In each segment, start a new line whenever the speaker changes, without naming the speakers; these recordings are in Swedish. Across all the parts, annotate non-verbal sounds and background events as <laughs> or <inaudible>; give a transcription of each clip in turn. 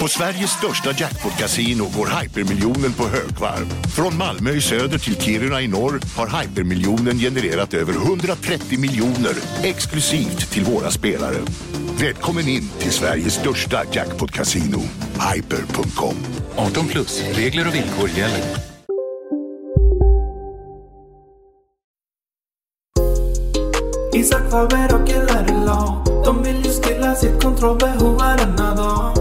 På Sveriges största jackpot-kasino går hypermiljonen på högvarv. Från Malmö i söder till Kiruna i norr har hypermiljonen genererat över 130 miljoner exklusivt till våra spelare. Välkommen in till Sveriges största jackpot-kasino, hyper.com.
18 plus, regler och villkor gäller.
Isak Faber och Ella Law De vill ju stilla sitt kontrollbehov varenda dag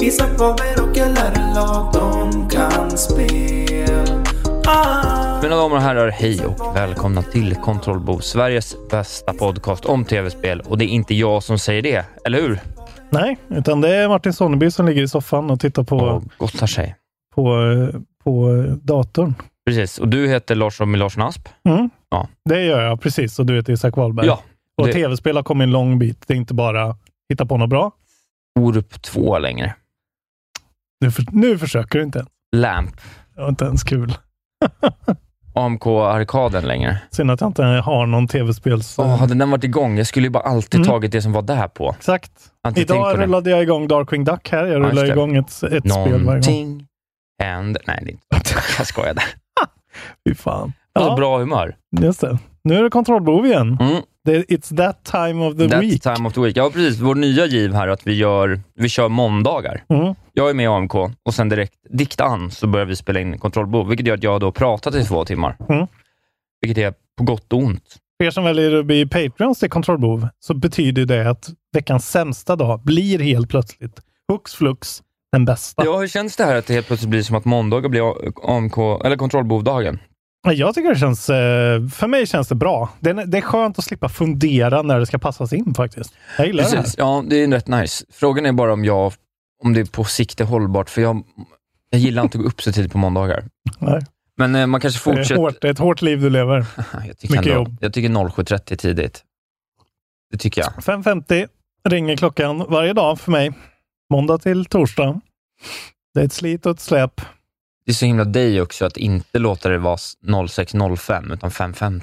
Isak Faber och Ella Law De kan spel ah.
Mina damer och herrar, hej och välkomna till Kontrollbo, Sveriges bästa podcast om tv-spel. Och det är inte jag som säger det, eller hur?
Nej, utan det är Martin Sonneby som ligger i soffan och tittar på,
Och gottar sig.
på, eh, på eh, datorn.
Precis, och du heter Lars Emil Larsson Asp.
Mm.
Ja.
Det gör jag, precis. Och du heter Isak Wahlberg.
Ja,
och
det-
tv-spel har kommit en lång bit. Det är inte bara hitta på något bra.
Orup 2 längre.
Nu, för, nu försöker du inte ens.
Lamp.
Det var inte ens kul. <laughs>
AMK Arkaden längre.
Synd att jag inte har någon tv-spels...
Åh, hade den varit igång, jag skulle ju bara alltid
Mm.
tagit det som var där på.
Exakt.
Jag har inte tänkt på
Idag
det.
rullade jag igång Darkwing Duck här. Jag
just
rullar
det.
igång ett, ett spel varje gång.
Någonting händer. Nej, det är inte Jag skojade.
Fy fan.
Ja.
Ja,
Bra humör.
just det. Nu är det kontrollbehov igen.
Mm.
Det, it's that time of the
That
week.
time of the week. Ja, precis. Vår nya giv här att vi, gör, vi kör måndagar.
Mm.
Jag är med i AMK och sen direkt, dikt an, så börjar vi spela in kontrollbehov, vilket gör att jag då har pratat i två timmar.
Mm.
Vilket är på gott och ont.
För er som väljer att bli Patreons till kontrollbehov så betyder det att veckans sämsta dag blir helt plötsligt hux flux den bästa.
Ja, hur känns det här att det helt plötsligt blir som att måndagar blir AMK, eller kontrollbehovdagen?
Jag tycker det känns, eh, för mig känns det bra. Det är, det är skönt att slippa fundera när det ska passas in faktiskt. Jag gillar det här.
Precis. Ja, det är rätt nice. Frågan är bara om jag, om det på sikt är hållbart, för jag, jag gillar inte att gå upp så tidigt på måndagar.
Nej.
Men eh, man kanske
Det är,
fortsätter... <laughs>
hårt, det är ett hårt liv du lever.
Jag tycker,
Mycket
ändå,
jobb.
jag tycker 07.30 är tidigt. Det tycker jag.
5.50 ringer klockan varje dag för mig. Måndag till torsdag. Det är ett slit och ett släp.
Det är så himla dig också att inte låta det vara 06.05 utan 5.50.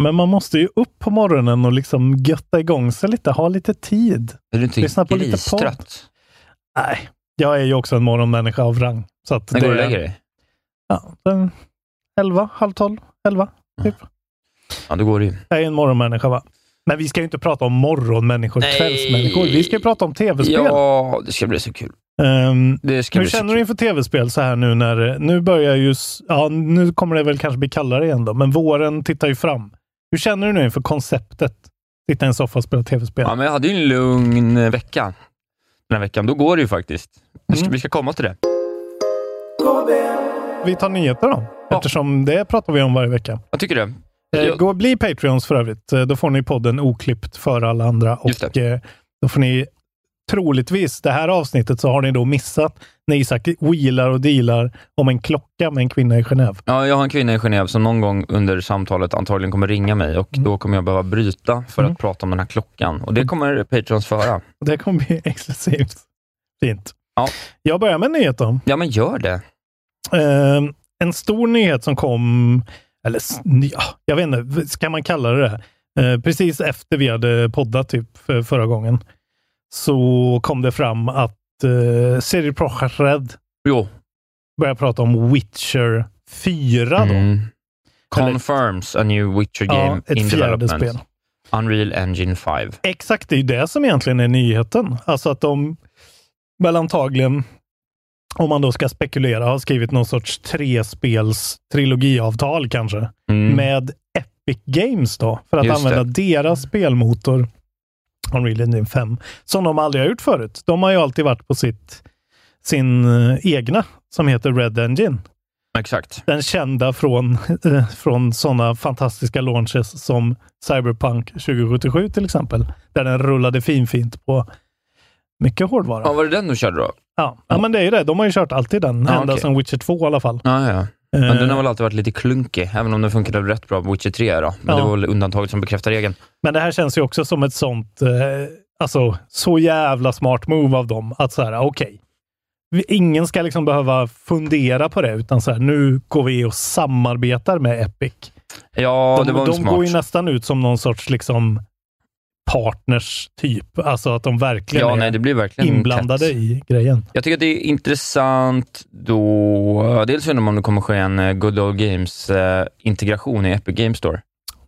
Men man måste ju upp på morgonen och liksom götta igång sig lite, ha lite tid.
Är du inte
Lyssna på lite
gristrött?
Nej, jag är ju också en morgonmänniska av rang. Så att
När
det
går du och
är-
lägger dig?
Ja, sen elva, halv tolv, elva.
Mm.
typ.
Ja, då går det ju.
Jag är en morgonmänniska va? Men vi ska ju inte prata om morgonmänniskor,
Nej.
kvällsmänniskor. Vi ska ju prata om tv-spel.
Ja, det ska bli så kul.
Ehm,
Det ska
hur
bli så
känner
kul.
du inför tv-spel så här nu när, nu börjar ju, s- ja nu kommer det väl kanske bli kallare igen då, men våren tittar ju fram. Hur känner du nu inför konceptet? Sitta i en soffa och spela tv-spel.
Ja, men jag hade ju en lugn eh, vecka den här veckan. Då går det ju faktiskt. Vi ska,
Mm.
vi ska komma till det.
Vi tar nyheter då,
Ja.
eftersom det pratar vi om varje vecka.
Jag tycker det.
Eh,
Jag-
Gå och bli Patreons för övrigt. Eh, Då får ni podden oklippt för alla andra.
Just
Och eh, då får ni troligtvis, det här avsnittet, så har ni då missat när Isak wheelar och dealar om en klocka med en kvinna i Genève.
Ja, jag har en kvinna i Genève som någon gång under samtalet antagligen kommer ringa mig och då kommer jag behöva bryta för
Mm.
att prata om den här klockan. Och det kommer Patrons få höra.
Och det kommer bli <laughs> exklusivt. Fint.
Ja.
Jag börjar med en nyhet då.
Ja, men gör det.
Eh, en stor nyhet som kom, eller s- ny- ja, jag vet inte, ska man kalla det det? Eh, precis efter vi hade poddat typ för, förra gången, så kom det fram att eh, Siri Projekt Red
Jo.
börjar prata om Witcher 4 då.
Mm. Confirms a new Witcher
Ja,
game in
ett fjärde
development.
spel.
Unreal Engine 5.
Exakt, det är ju det som egentligen är nyheten. Alltså att de väl antagligen, om man då ska spekulera, har skrivit någon sorts trespels trilogiavtal kanske.
Mm.
med Epic Games då, för att
Just
använda deras spelmotor Unreal Engine 5, som de aldrig har gjort förut. De har ju alltid varit på sitt, sin eh, egna, som heter Red Engine.
Exakt.
Den kända från, eh, från sådana fantastiska launches som Cyberpunk 2077 till exempel, där den rullade finfint på mycket hårdvara.
Ja, var det den du körde då?
Ja, ja, men det är ju det. De har ju kört alltid den.
Ja,
ända
okej.
sedan Witcher 2 i alla fall.
Ja, ja. Men
Eh,
den har väl alltid varit lite klunkig, även om den funkade rätt bra på Witcher 3 då. Men
Ja.
det var väl undantaget som bekräftar regeln.
men det här känns ju också som ett sånt, eh, alltså så jävla smart move av dem. Att så här, okej. vi- Ingen ska liksom behöva fundera på det, utan så här, nu går vi och samarbetar med Epic.
Ja,
De,
det var en
de
smart.
går ju nästan ut som någon sorts liksom partners typ. Alltså att de verkligen
ja,
är
nej, det blir verkligen
inblandade
tätt.
i grejen.
Jag tycker att det är intressant då... Dels undrar man om det kommer ske en eh, Good Old Games-integration i Epic Games Store.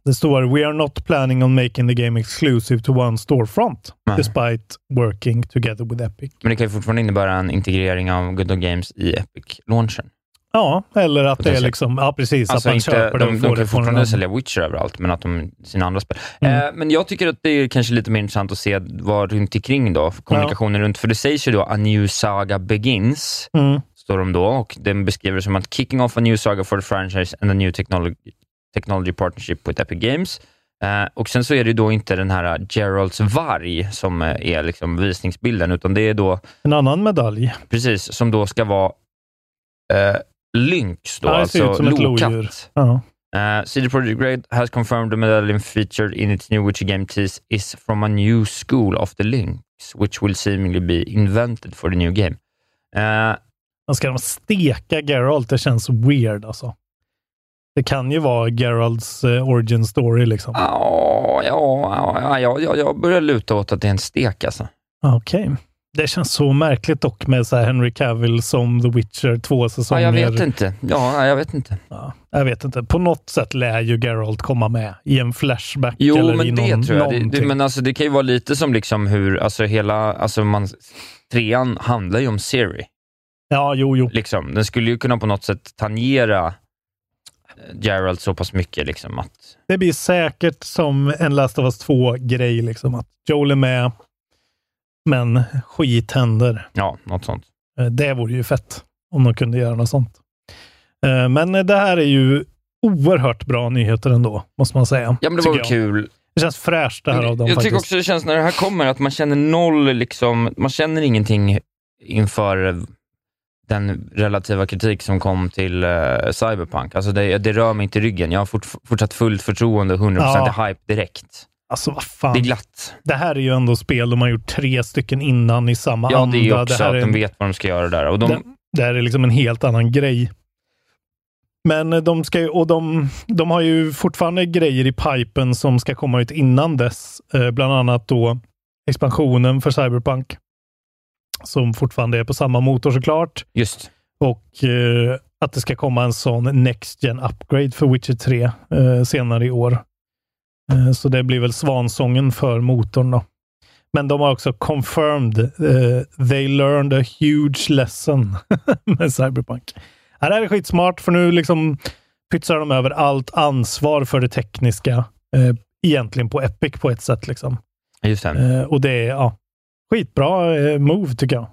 Det står “We are not planning on making the game exclusive to one storefront,
Nej.
despite working together with Epic”.
Men det kan ju fortfarande innebära en integrering av Good Old Games i Epic-launchen.
Ja, eller att det är
Potentiellt.
liksom, ja precis,
Alltså
att man
inte,
köper det och
de,
får
de kan
det från en
fortfarande
annan.
sälja Witcher överallt, men att de sina andra spel.
Mm.
Eh, men jag tycker att det är kanske lite mer intressant att se vad runt omkring då, kommunikationen runt. För det sägs ju då A New Saga Begins,
Mm.
står de då, och den beskriver det som att kicking off a new saga for the franchise and a new technology, technology partnership with Epic Games. Eh, och sen så är det ju då inte den här eh, Geralds varg som eh, är liksom visningsbilden, utan det är då,
En annan medalj.
precis, som då ska vara eh, Lynx då,
Ja, det ser ut
alltså
som ett lodjur.
lokatt.
Ja.
Uh, CD Projekt Red has confirmed the medallion featured in its new Witcher game tease is from a new school of the Lynx, which will seemingly be invented for the new game. Eh,
Men Ska de steka Geralt? Det känns weird alltså. Det kan ju vara Geralts eh, origin story liksom.
ja, ja, ja, ja, ja, jag börjar luta åt att det är en stek alltså.
Ah, Okej. Det känns så märkligt dock med så här Henry Cavill som The Witcher två
Ja,
säsonger.
jag vet inte. Ja, nej, jag vet inte.
Ja, jag vet inte. På något sätt lär ju Geralt komma med i en flashback
Jo,
eller i
men
någon,
det tror jag. Det,
någonting.
det, men alltså, det kan ju vara lite som liksom hur, alltså hela, alltså man, trean handlar ju om Siri.
Ja, jo, jo.
liksom, den skulle ju kunna på något sätt tangera eh, Geralt så pass mycket. Liksom, att,
Det blir säkert som en Last of Us 2-grej, liksom att Joel är med, men skit händer.
ja, något sånt.
Eh, Det vore ju fett om de kunde göra något sånt. Eh, Men eh, det här är ju oerhört bra nyheter ändå, måste man säga.
Ja, men det
tycker
var väl
jag.
kul.
Det känns fräscht det här av dem
jag tycker
faktiskt.
också det känns när det här kommer att man känner noll, liksom, man känner ingenting inför den relativa kritik som kom till eh, Cyberpunk. Alltså det, det rör mig inte i ryggen. Jag har fort, fortsatt fullt förtroende och 100%
Ja.
hype direkt.
Alltså vad fan.
Det är
Det,
glatt.
här är ju ändå spel de har gjort tre stycken innan i samma
Ja,
anda.
det är också
här
att
är
de
en
vet vad de ska göra där. Och de,
Det, det här är liksom en helt annan grej. Men eh, de, ska ju, och de, de har ju fortfarande grejer i pipen som ska komma ut innan dess. Eh, bland annat då expansionen för Cyberpunk. Som fortfarande är på samma motor såklart.
just.
Och eh, att det ska komma en sån Next Gen Upgrade för Witcher 3 eh, senare i år. Eh, så det blir väl svansången för motorn då. Men de har också confirmed eh, they learned a huge lesson <laughs> med Cyberpunk. Ja, det här är skitsmart för nu liksom pytsar de över allt ansvar för det tekniska eh, egentligen på Epic på ett sätt. Liksom.
just det.
Eh, och det är ja, skitbra eh, move tycker jag.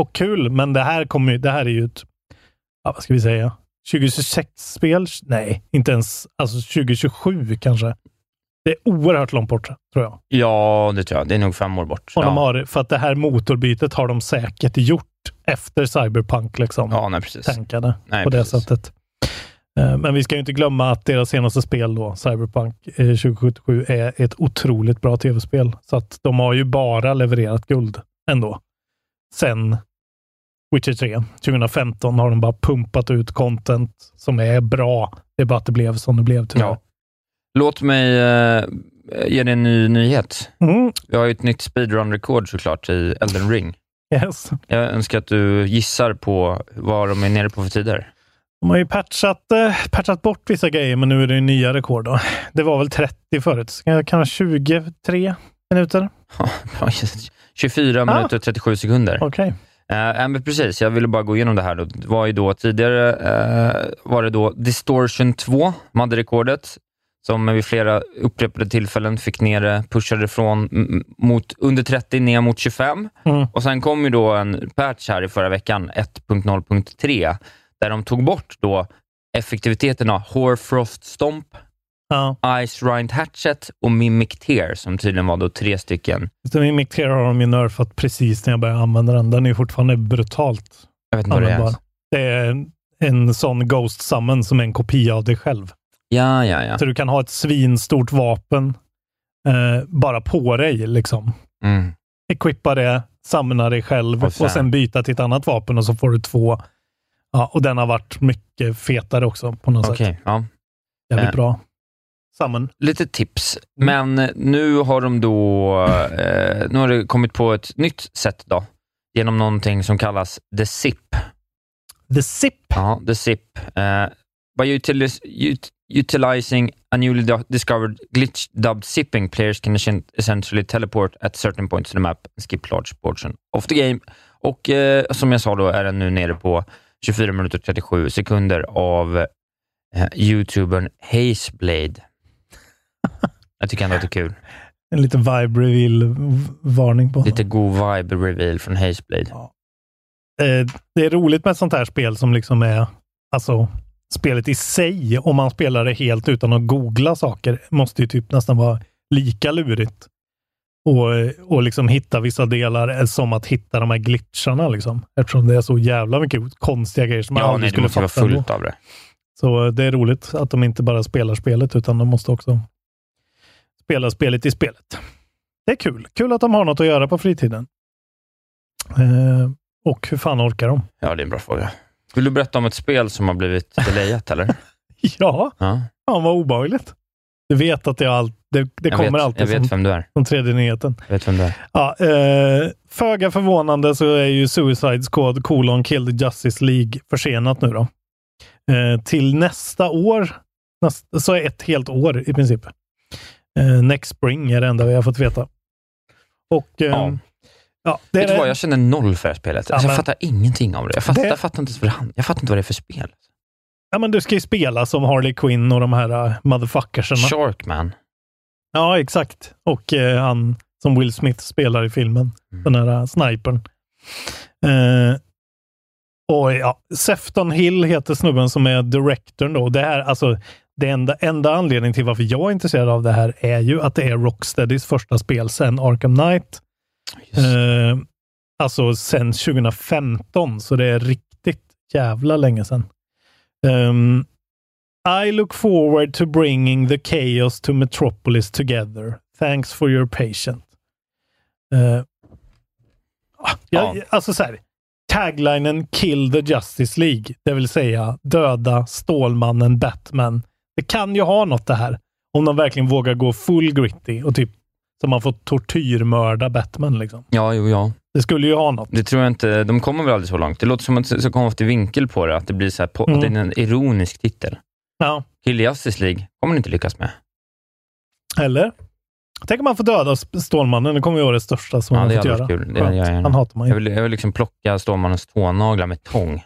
Och kul, men det här kommer ju, det här är ju ett, ja, vad ska vi säga, 2026-spel? Nej, inte ens, alltså 2027 kanske. Det är oerhört långt bort, tror jag.
Ja, det tror jag. Det är nog fem år bort.
Och de
Ja,
har, för att det här motorbytet har de säkert gjort efter Cyberpunk, liksom.
ja nej, precis.
Tänkade
Nej,
på det
precis.
sättet. Eh, Men vi ska ju inte glömma att deras senaste spel då, Cyberpunk eh, 2077, är ett otroligt bra tv-spel. Så att de har ju bara levererat guld ändå. Sen Witcher 3, 2015, har de bara pumpat ut content som är bra. Det är bara att det blev som det blev tyvärr.
Ja. Låt mig eh, ge dig en ny nyhet.
Mm,
Vi har ju ett nytt speedrun-rekord såklart i Elden ring.
yes.
Jag önskar att du gissar på vad de är nere på för tider.
De har ju patchat, eh, patchat bort vissa grejer, men nu är det ju nya rekord. Då. Det var väl 30 förut. Kan jag ha 23 minuter?
24 minuter och 37 sekunder.
Okej.
Eh, ja, men precis, jag ville bara gå igenom det här. Då. Det var ju då tidigare eh, var det då Distortion 2, man hade rekordet. som vid flera upprepade tillfällen fick ner det, pushade från mm, mot under 30 ner mot 25.
Mm.
Och Sen kom ju då en patch här i förra veckan, 1.0.3, där de tog bort då effektiviteten av Horfrost Stomp,
Ja.
Ice Rind Hatchet och Mimic Tear, som tydligen var då tre stycken.
Så min Mick Terror har de ju nerfat precis när jag började använda den. Den är ju fortfarande brutalt
Jag vet inte Mm. vad det är.
användbar.
ens.
Det är en, en sån Ghost Summon som är en kopia av dig själv.
Ja, ja, ja.
Så du kan ha ett svinstort vapen eh, bara på dig. liksom.
Mm.
Equippa det, samla dig själv
Och
och
sen-
sen, byta till ett annat vapen och så får du två. Ja, och den har varit mycket fetare också på något
Okej,
sätt.
ja.
Jävligt
Eh.
bra. Summon.
lite tips. Men nu har de då eh, nu har det kommit på ett nytt sätt då, genom någonting som kallas The SIP.
The Zip.
Ja, The SIP. Eh, by utilis- ut- utilizing a newly do- discovered glitch dubbed zipping, players can essen- essentially teleport at certain points in the map and skip large portion of the game. Och eh, som jag sa då är den nu nere på 24 minuter och 37 sekunder av eh, youtubern
<laughs>
Hazeblade. Jag tycker ändå att det är kul.
En liten vibe reveal-varning på honom.
Lite god vibe reveal från Hazeblade.
eh, det är roligt med ett sånt här spel som liksom är, alltså spelet i sig, om man spelar det helt utan att googla saker, måste ju typ nästan vara lika lurigt. Och, eh, och liksom hitta vissa delar är som att hitta de här glitcharna liksom. Eftersom det är så jävla mycket konstiga grejer som man
Ja,
aldrig
nej, det
skulle
måste vara
fatta ändå.
fullt av det.
Så eh, det är roligt att de inte bara spelar spelet, utan de måste också spela spelet i spelet. Det är kul. Kul att de har något att göra på fritiden. Eh, och hur fan orkar de?
Ja, det är en bra fråga. Vill du berätta om ett spel som har blivit delayat,
<laughs>
eller?
Ja,
Ja.
fan vad obehagligt. Du vet att det, all, det, det
Jag
kommer
vet,
alltid
Jag vet
som,
vem du är.
som tredje nyheten.
Jag vet vem du är.
Ja, eh, föga förvånande så är ju Suicide Squad colon Kill the Justice League försenat nu då. Eh, till nästa år, näst, så är ett helt år i princip. Eh, next spring är det enda vi har fått veta. Och eh,
Ja.
ja. det
Vet
är
du vad, jag känner noll för det här spelet.
Ja,
alltså, jag
men-
fattar ingenting av det. Jag fattar,
Det-
jag fattar inte ens vad det handlar Jag fattar inte vad det är för spel.
ja, men du ska ju spela som Harley Quinn och de här eh, motherfuckerserna.
Sharkman.
Ja, exakt. Och eh, han som Will Smith spelar i filmen.
Mm.
Den här eh, snipern. Eh, och ja, Sefton Hill heter snubben som är directorn då. Det här, alltså, det enda, enda anledningen till varför jag är intresserad av det här är ju att det är Rocksteadys första spel sen Arkham Knight.
Just.
Eh, alltså sen 2015, så det är riktigt jävla länge sedan. Ehm, I look forward to bringing the chaos to Metropolis together. Thanks for your patience. Eh, ah, jag,
Ja.
Alltså så här, taglinen Kill the Justice League, det vill säga döda Stålmannen Batman. Det kan ju ha något det här. Om de verkligen vågar gå full gritty och typ så man får tortyrmörda Batman liksom.
Ja, jo, ja.
Det skulle ju ha något.
Det tror jag inte. De kommer väl aldrig så långt. Det låter som att det är så konstig vinkel på det, att det blir så här på,
Mm.
att det är en ironisk titel.
Ja.
Kill Justice League kommer ni inte lyckas med.
Eller? Tänk om man får döda Sp- Stålmannen. Det kommer ju vara det största som
Ja,
man
det
har fått
hade
göra.
varit kul. Det hade jag
Skönt.
gärna.
Han hatar man
Jag
ju.
vill, jag vill liksom plocka Stålmannens tånaglar med tång.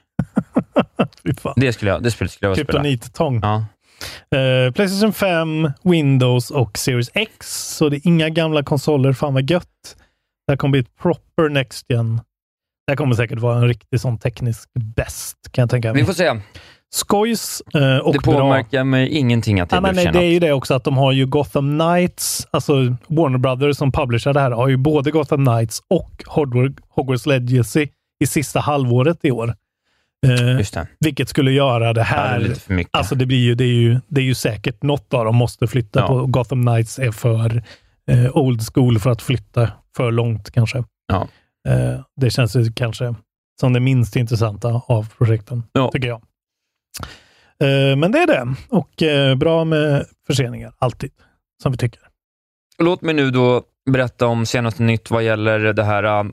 Fy fan.
Det skulle jag, det spelet skulle
Typ
jag vilja spela.
Kryptonittång.
Ja.
Eh, Playstation 5, Windows och Series X. Så det är inga gamla konsoler. Fan vad gött. Det här kommer bli ett proper next gen. Det här kommer säkert vara en riktig sån teknisk bäst, kan jag tänka
Vi
mig.
får se.
Skojs eh, och
det
bra.
påverkar mig ingenting att
Ja,
jag
men
blev
nej, det är
försenad.
ju det också att de har ju Gotham Knights, alltså Warner Brothers som publicerar det här, har ju både Gotham Knights och Hogwarts- Hogwarts Legacy i sista halvåret i år. Eh,
Just det.
vilket skulle göra det
Det här
här...
är lite för mycket.
alltså det, blir ju, det, är ju, det är ju säkert något av dem måste flytta
Ja.
på. Gotham Knights är för eh, old school för att flytta för långt kanske.
Ja.
Eh, det känns ju kanske som det minst intressanta av projekten
Ja.
tycker jag. Eh, Men det är det. Och eh, bra med förseningar, alltid. Som vi tycker.
Låt mig nu då berätta om senaste nytt vad gäller det här äh,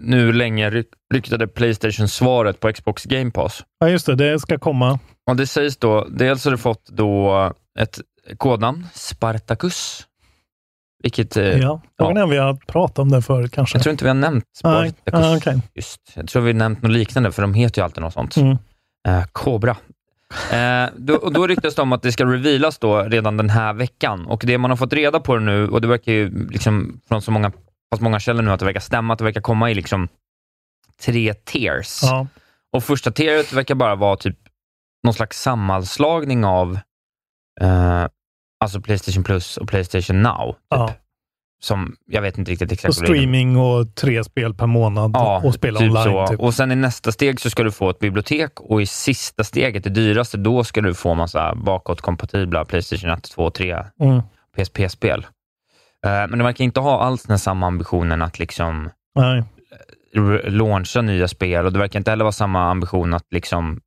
nu länge ry- ryktade Playstation-svaret på Xbox Game Pass.
Ja, just det. Det ska komma.
Och det sägs då, dels har du fått då ett kodnamn, Spartacus. Vilket, eh,
Ja. Frågan är om vi har pratat om det förut kanske. ah,
jag tror inte vi har nämnt
Nej,
Spartacus.
ah, okej.
Just. Jag tror vi har nämnt något liknande, för de heter ju alltid något sånt.
Mm.
Eh, Cobra. Eh, då, och då ryktas det om att det ska revealas då redan den här veckan. Och Det man har fått reda på nu, och det verkar ju liksom från så många, fast många källor nu att det verkar stämma, att det verkar komma i liksom tre tiers.
Ja.
Och första tieret verkar bara vara typ någon slags sammanslagning av eh, alltså Playstation Plus och Playstation Now. Typ,
ja.
Som jag vet inte riktigt
Och
exakt vad det är.
streaming och tre spel per månad
Ja,
och spela
typ
online.
så.
Typ.
Och sen i nästa steg så ska du få ett bibliotek och i sista steget, det dyraste, då ska du få massa bakåtkompatibla Playstation 1, 2, 3
Mm.
PSP-spel. Eh, Men de verkar inte ha alls den samma ambitionen att liksom
Nej.
r- launcha nya spel och det verkar inte heller vara samma ambition att liksom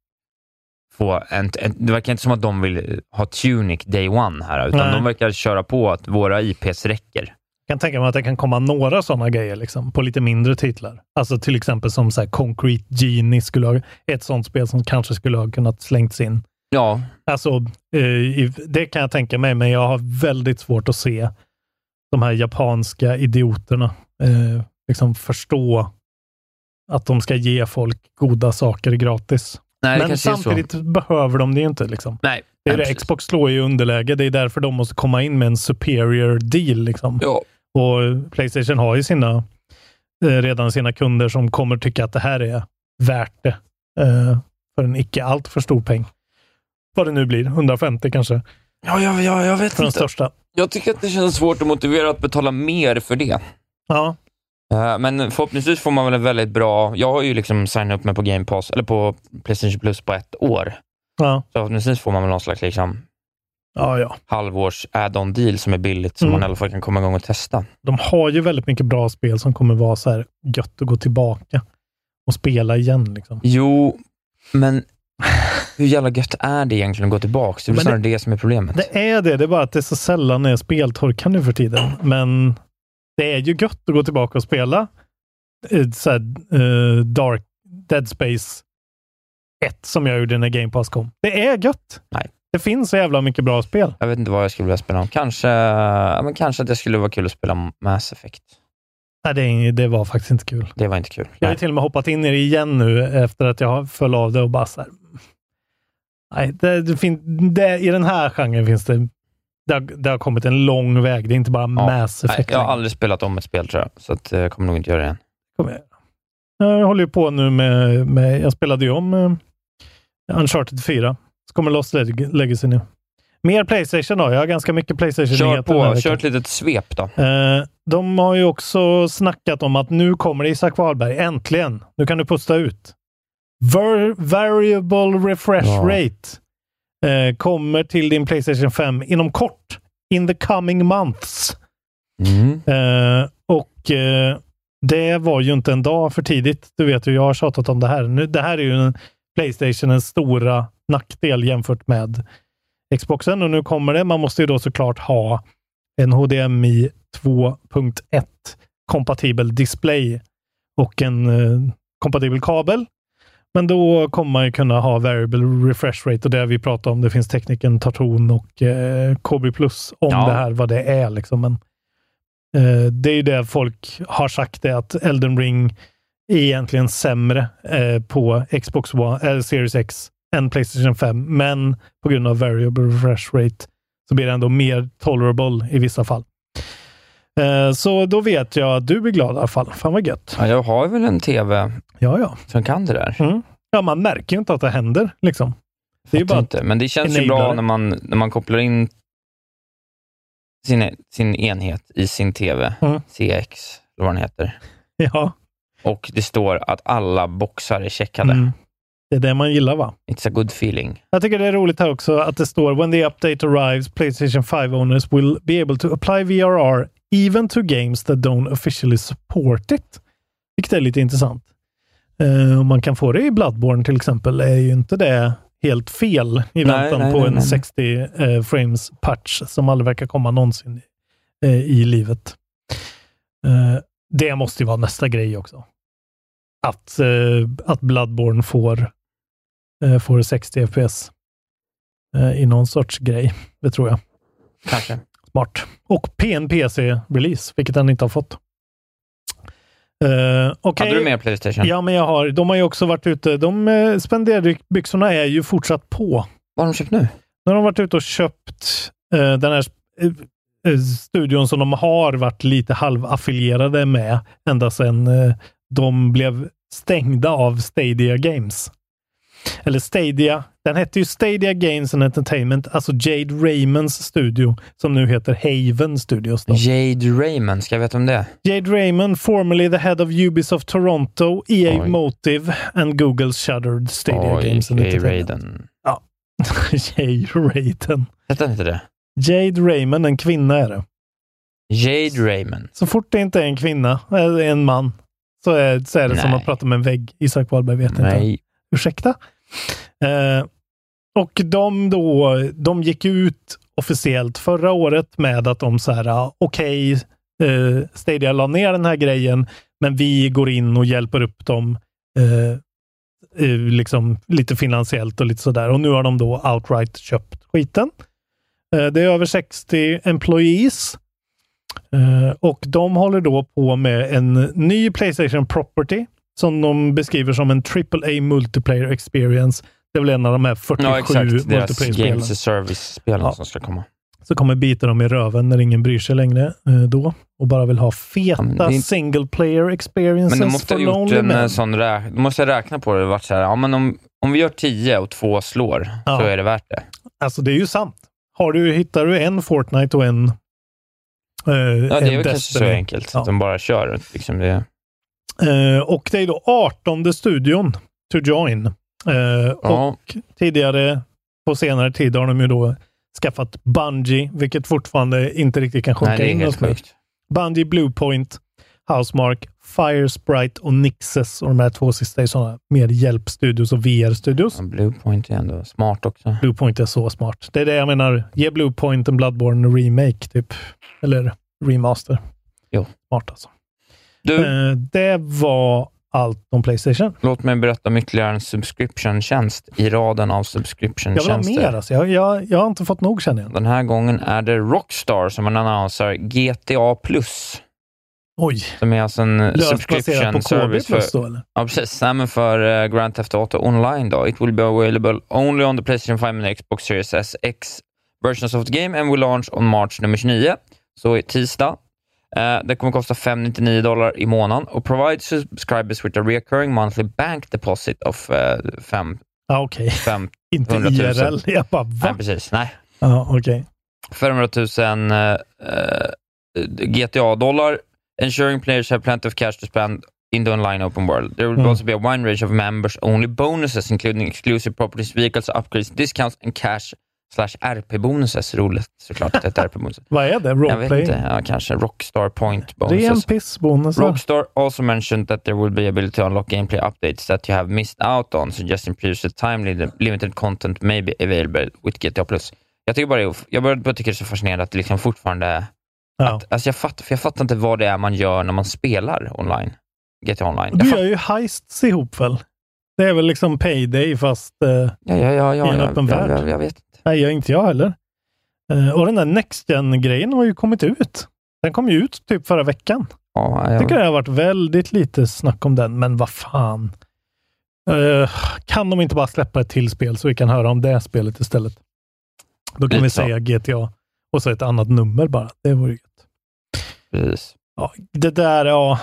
få en, en, det verkar inte som att de vill ha Tunic day one här, utan
Nej.
de verkar köra på att våra IPs räcker.
Jag kan tänka mig att det kan komma några sådana grejer liksom, på lite mindre titlar. Alltså till exempel som så här Concrete Genie skulle ha, ett sånt spel som kanske skulle ha kunnat slängts in.
Ja,
Alltså, eh, i- det kan jag tänka mig, men jag har väldigt svårt att se de här japanska idioterna eh, liksom förstå att de ska ge folk goda saker gratis.
nej, det
men
kanske är så.
samtidigt behöver de det ju inte. Liksom.
Nej,
Det
nej,
är det,
precis.
Xbox slår ju underläge. Det är därför de måste komma in med en superior deal. Liksom.
Ja,
Och Playstation har ju sina, eh, redan sina kunder som kommer tycka att det här är värt det. Eh, för en icke allt för stor peng. Vad det nu blir, 150 kanske,
ja, ja, ja jag vet
för den
inte.
största.
Jag tycker att det känns svårt att motivera att betala mer för det.
Ja,
Eh, Men förhoppningsvis får man väl en väldigt bra... Jag har ju liksom signat upp mig på Game Pass, eller på Playstation Plus på ett år.
ja,
Så förhoppningsvis får man väl någon slags liksom
ja, ja.
halvårs add-on deal som är billigt, som
Mm.
man i alla fall kan komma igång och testa.
De har ju väldigt mycket bra spel som kommer vara så här gött att gå tillbaka och spela igen. Liksom.
Jo, men <laughs> hur jävla gött är det egentligen att gå tillbaka? Det är väl
Men det-
snarare det, som är problemet.
Det är det, det är bara att det är så sällan det är speltorka nu för tiden. Men det är ju gött att gå tillbaka och spela eh, så här, eh, Dark Dead Space 1 som jag gjorde när Game Pass kom. Det är gött!
Nej.
Det finns så jävla mycket bra spel.
Jag vet inte vad jag skulle vilja spela om. Kanske, ja, men kanske att det skulle vara kul att spela Mass Effect.
Nej, det, är- det var faktiskt inte kul.
Det var inte kul.
Jag har
Nej.
ju till och med hoppat in i det igen nu efter att jag föll av det och bara så här, Nej, det, det fin, det, i den här genren finns det... Det har, det har kommit en lång väg. Det är inte bara Mass
Nej,
Effect.
jag har
längre.
aldrig spelat om ett spel tror jag, så att, eh, jag kommer nog inte göra det igen.
Kom igen. Jag håller ju på nu med, med jag spelade ju om eh, Uncharted 4. Så kommer Lost Leg- Legacy nu. Mer Playstation då. Jag har ganska mycket Playstation.
Kör på, kör ett litet svep då.
Eh, de har ju också snackat om att nu kommer Isak Wahlberg. Äntligen! Nu kan du pusta ut. Var- variable refresh
Ja.
rate eh, kommer till din Playstation 5 inom kort. In the coming months.
Mm.
Eh, och eh, det var ju inte en dag för tidigt. Du vet ju, jag har tjatat om det här. Nu, det här är ju en, Playstationens stora nackdel jämfört med Xboxen och nu kommer det. Man måste ju då såklart ha en HDMI 2.1 kompatibel display och en eh, kompatibel kabel. Men då kommer man ju kunna ha variable refresh rate och det vi pratar om. Det finns tekniken Tarton och eh, KB Plus om
Ja.
det här, vad det är liksom. Men, eh, det är ju det folk har sagt det att Elden Ring är egentligen sämre eh, på Xbox One, eller Series X än Playstation 5. Men på grund av variable refresh rate så blir det ändå mer tolerable i vissa fall. Eh, Så då vet jag att du blir glad i alla fall. Fan vad gött.
Ja, jag har väl en TV
Ja, ja.
som kan det där.
Mm. Ja, man märker ju inte att det händer liksom. Det är ju
Fattar
bara att,
inte. Men det känns ju bra
enablare.
när man, när man kopplar in sin, sin enhet i sin TV,
Mm.
CX, eller vad den heter,
ja.
och det står att alla boxar är checkade.
Mm. Det är det man gillar va?
It's a good feeling.
Jag tycker det är roligt här också att det står “When the update arrives, Playstation 5 owners will be able to apply VRR even to games that don't officially support it”. Vilket är lite intressant. Eh, om man kan få det i Bloodborne till exempel är ju inte det helt fel i väntan
nej,
på
nej,
en
nej.
60 eh, frames patch som aldrig verkar komma någonsin eh, i livet. Eh, det måste ju vara nästa grej också. Att, eh, att Bloodborne får eh, får 60 FPS eh, i någon sorts grej. Det tror jag. <laughs>
Kanske.
Smart. Och PNPC-release, vilket den inte har fått. Uh, okay.
Hade du mer Playstation?
Ja, men jag har. De har ju också varit ute. De eh, spenderbyxorna är ju fortsatt på.
Vad har de köpt nu?
Nu har de varit ute och köpt eh, den här sp- eh, eh, studion som de har varit lite halvaffilierade med ända sedan eh, de blev stängda av Stadia Games. Eller Stadia. Den hette ju Stadia Games and Entertainment, alltså Jade Raymonds studio, som nu heter Haven Studios. Då.
Jade Raymond, ska jag veta om det?
Jade Raymond, formerly the head of Ubisoft Toronto, EA
Oj.
Motive and Googles shuttered Stadia
Oj,
Games and
Jay
Entertainment. <laughs>
Raiden.
Jade Raiden.
Hette han inte det?
Jade Raymond, en kvinna är det.
Jade Raymond.
Så fort det inte är en kvinna, eller en man, så är, så är det som
Nej.
att prata med en vägg. Isak Wahlberg vet inte.
Nej.
Ursäkta? Eh, och de då, de gick ut officiellt förra året med att de så här, ah, okej, eh, Stadia la ner den här grejen, men vi går in och hjälper upp dem eh, eh, liksom lite finansiellt och lite sådär. Och nu har de då outright köpt skiten. Eh, det är över 60 employees. Eh, och de håller då på med en ny Playstation Property som de beskriver som en AAA multiplayer experience. Det är väl en av de här 47
Ja, exakt. Deras
multiplayer-spelen
Games as Service-spel
Ja.
som ska komma.
så kommer bita dem i röven när ingen bryr sig längre eh, då och bara vill ha feta
Ja, men det är inte-
single player experiences
Men de måste ha
for
gjort
lonely
en eh,
men.
sån rä- de måste ha räknat på det och varit så här, ja men om, om vi gör 10 och två slår,
Ja.
så är det värt det.
Alltså det är ju sant. Har du, hittar du en Fortnite och en, eh,
Ja,
en
det är väl kanske så
Destiny.
enkelt,
Ja.
att de bara kör. Liksom det.
Eh, och det är då 18 studion to join. Eh, och
Ja,
tidigare, på senare tid, har de ju då skaffat Bungie, vilket fortfarande inte riktigt kan sjunka
nej, det är
in
helt
hos mig.
sjukt.
Bungie, Bluepoint, Housemark, Firesprite och Nixes. Och de här två sista är sådana mer hjälpstudios och VR-studios.
Ja, Bluepoint är ändå smart också.
Bluepoint är så smart. Det är det jag menar. Ge Bluepoint en Bloodborne remake, typ. Eller remaster.
Jo.
Smart alltså.
Du,
Eh, det var allt om Playstation.
låt mig berätta om ytterligare en subscription-tjänst i raden av
Jag vill ha mer
subscription-tjänster.
alltså. Jag, jag, jag har inte fått nog känner jag.
Den här gången är det Rockstar som annonserar GTA+, Plus,
Oj.
som är alltså en
Löst baserat på KB
subscription-service för
plus då eller?
Ja, precis. Nej, men för eh, Grand Theft Auto Online då. It will be available only on the Playstation 5 and Xbox Series S X versions of the game and will launch on March nummer 29, så i tisdag. Eh, det kommer kosta 599 dollar i månaden och provide subscribers with a recurring monthly bank deposit of eh, fem
Ja, okej. <laughs>
fem
Inte
100 000.
IRL. Jag bara,
nej,
va?
precis. Nej.
Ja, okej.
500 000 eh, eh, GTA-dollar, ensuring players have plenty of cash to spend in the online open world. There will
Mm.
also be a wide range of members-only bonuses, including exclusive properties, vehicles, upgrades, discounts and cash slash RP-bonuses. Roligt såklart att det är RP-bonuses.
Vad är det?
Jag vet
<laughs> Roleplay?
inte, ja, kanske Rockstar
Ren
Point-bonuses.
pissbonusar.
Rockstar also mentioned that there will be ability to unlock gameplay updates that you have missed out on, suggesting previously time li- limited content may be available with GTA+. Jag tycker bara det, är of- jag börjar bara tycka det är så fascinerande att det liksom fortfarande...
Ja.
Att, alltså jag, fattar, för jag fattar inte vad det är man gör när man spelar online. GTA Online.
Du
Jag
gör
fatt,
ju heists ihop väl? Det är väl liksom payday fast... eh,
ja, ja, ja,
i
ja,
en
jag,
öppen
jag,
värld.
jag, jag vet inte.
nej, gör inte jag heller. Eh, och den där Next Gen-grejen har ju kommit ut. Den kom ju ut typ förra veckan.
Ja,
Jag
jag,
tycker det har varit väldigt lite snack om den, men vad fan. Eh, kan de inte bara släppa ett till spel så vi kan höra om det spelet istället? Då kan
Lite
vi
så.
säga GTA och så ett annat nummer bara. Det vore ju gött.
precis.
Ja, det där, ja.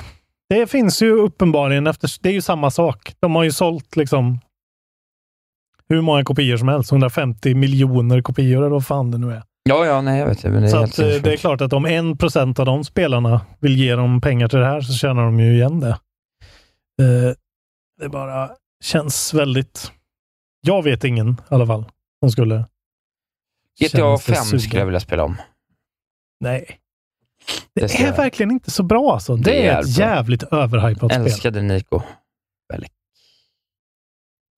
Det finns ju uppenbarligen, efter, det är ju samma sak. De har ju sålt liksom hur många kopior som helst. 150 miljoner kopior eller vad fan det nu är.
Ja, ja, nej, jag vet. Men det är
så
helt
att, eh,
sinnessjukt.
det är klart att om en procent av de spelarna vill ge dem pengar till det här så tjänar de ju igen det. Eh, Det bara känns väldigt... Jag vet ingen i alla fall som skulle...
GTA
känna
5
sig sugen.
skulle jag vilja spela om.
Nej.
Det
Det
ser
är
jag.
verkligen inte så bra alltså. Det,
Det är
är ett
jävligt bra.
jävligt överhypat spel.
Älskade Nico.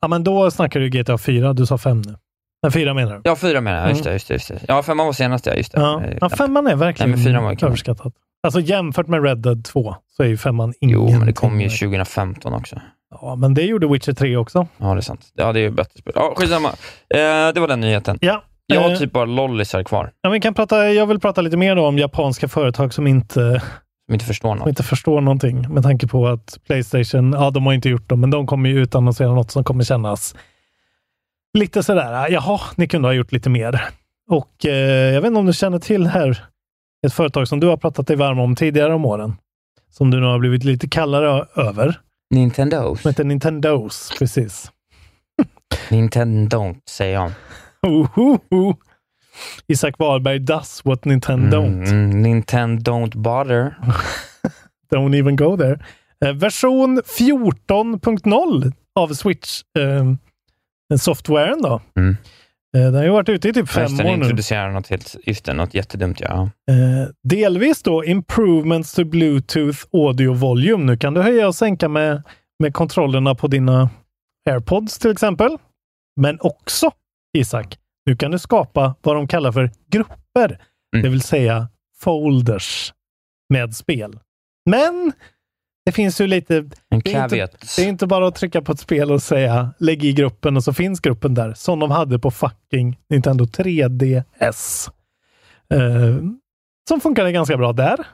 Ja, men då snackar du GTA 4. Du sa 5 nu. Men 4 menar du?
Ja, fyra menar jag. Just det, just det, just det. Ja, femman var senast, ja. Just det.
Mm. Ja,
Eh,
ja femman är verkligen
Nej, men fyran var ju kanon.
överskattad. Alltså jämfört med Red Dead 2 så är ju femman ingen.
Jo, men det kom ju 2015 också.
Ja, men det gjorde Witcher 3 också.
Ja, det är sant. Ja, det är ju bättre spel. Ja, skitsamma. Eh, det var den nyheten.
Ja.
Jag har
eh,
typ bara lollisar kvar.
ja, vi kan prata, jag vill prata lite mer då om japanska företag som inte
som som inte förstår
Och
något.
inte förstår någonting med tanke på att Playstation, ja de har inte gjort dem, men de kommer ju utannonsera något som kommer kännas lite sådär, ah, jaha, ni kunde ha gjort lite mer. Och eh, jag vet inte om du känner till här, ett företag som du har pratat dig varm om tidigare om åren, som du nu har blivit lite kallare över,
Nintendo.
som heter Nintendos, precis.
Nintendo, säger jag.
Ohoho. Isak Wahlberg does what Nintendo don't.
Mm, Nintendo don't bother.
Don't even go there. Eh, version 14.0 av Switch eh, softwaren då.
Mm.
Eh, den har ju varit ute i typ fem
Först den
år nu.
introducerar något helt, just det, något jättedumt. Ja.
Eh, delvis då improvements to Bluetooth audio volume. Nu kan du höja och sänka med, med kontrollerna på dina AirPods till exempel. Men också, Isak, nu kan du skapa vad de kallar för grupper,
Mm.
det vill säga folders med spel. Men det finns ju lite
En
Det är inte-
caveat.
det är inte bara att trycka på ett spel och säga lägg i gruppen och så finns gruppen där. Som de hade på fucking Nintendo 3DS. Eh, som funkade ganska bra där.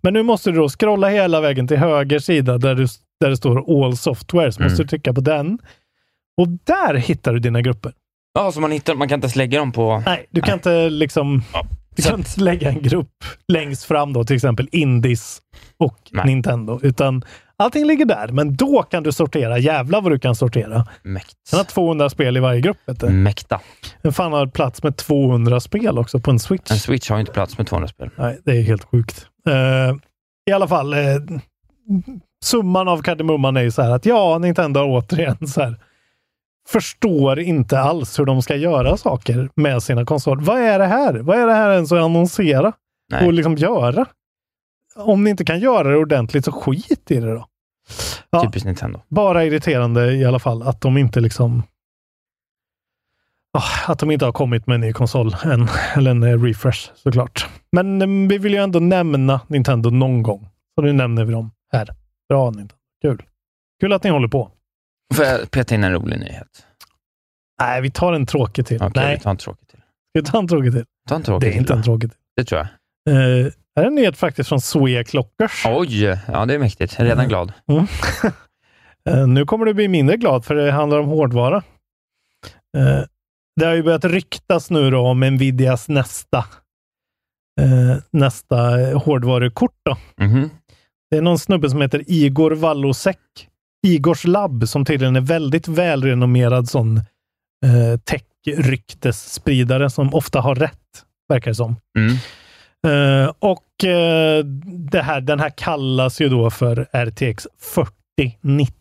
Men nu måste du då scrolla hela vägen till höger sida där, du, där det står All Software. Så måste
Mm.
du trycka på den. Och där hittar du dina grupper.
Ja, så man, hittar, man kan inte ens lägga dem på...
Nej, du kan inte liksom... Du
Så
kan inte lägga en grupp längst fram då, till exempel Indies och
Nej.
Nintendo, utan allting ligger där. Men då kan du sortera. Jävlar vad du kan sortera.
Mäkt.
Den har 200 spel i varje grupp. Vet du.
Mäkta.
Den fan har plats med 200 spel också på en Switch.
En Switch har ju inte plats med 200 spel.
Nej, det är helt sjukt. Eh, I alla fall, eh, summan av kardemumman är ju så här att ja, Nintendo har återigen så här förstår inte alls hur de ska göra saker med sina konsoler. Vad är det här? Vad är det här ens att annonsera
Nej.
och liksom göra? Om ni inte kan göra det ordentligt så skit i det då. Ja,
Typiskt Nintendo.
Bara irriterande i alla fall att de inte liksom Ah, att de inte har kommit med en ny konsol än, eller en eh, refresh såklart. Men eh, vi vill ju ändå nämna Nintendo någon gång. Så nu nämner vi dem här. Bra Nintendo. Kul. Kul att ni håller på.
Får jag peta in en rolig nyhet?
Nej, vi tar en tråkig till.
Okej,
Nej,
vi tar en tråkig till.
vi tar en tråkig till.
Ta en tråkig
Det är
till
inte
då.
en tråkig till.
Det tror jag.
Eh, här är en nyhet faktiskt från Svea Klockers.
Oj! Ja, det är mäktigt. Jag är redan
Mm.
glad.
Eh, Nu kommer du bli mindre glad för det handlar om hårdvara. Eh, Det har ju börjat ryktas nu då om Nvidias nästa, eh, nästa eh, hårdvarukort. Då.
Mhm.
Det är någon snubbe som heter Igor Vallosek. Igors labb som tydligen är väldigt välrenommerad sån eh, tech-ryktesspridare som ofta har rätt, verkar det som.
Mm.
Eh, och eh, det här, den här kallas ju då för RTX 4090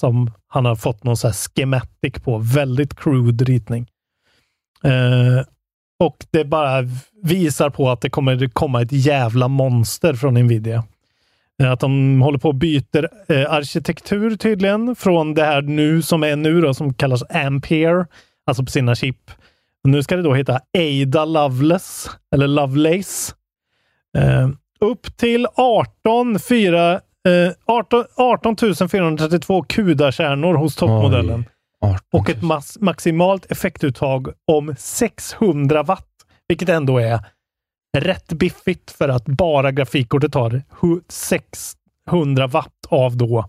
som han har fått någon så här schematic på. Väldigt crude ritning. Eh, och det bara visar på att det kommer komma ett jävla monster från Nvidia. Eh, Att de håller på och byter eh, arkitektur tydligen från det här nu som är nu då som kallas Ampere, alltså på sina chip. Och nu ska det då heta Ada Lovelace, eller Lovelace. Eh, upp till 18, 4, eh, 18, 18 432 CUDA-kärnor hos toppmodellen
Oj. 18 000.
och ett mas- maximalt effektuttag om 600 watt, vilket ändå är rätt biffigt för att bara grafikkortet tar hu- 600 watt av då,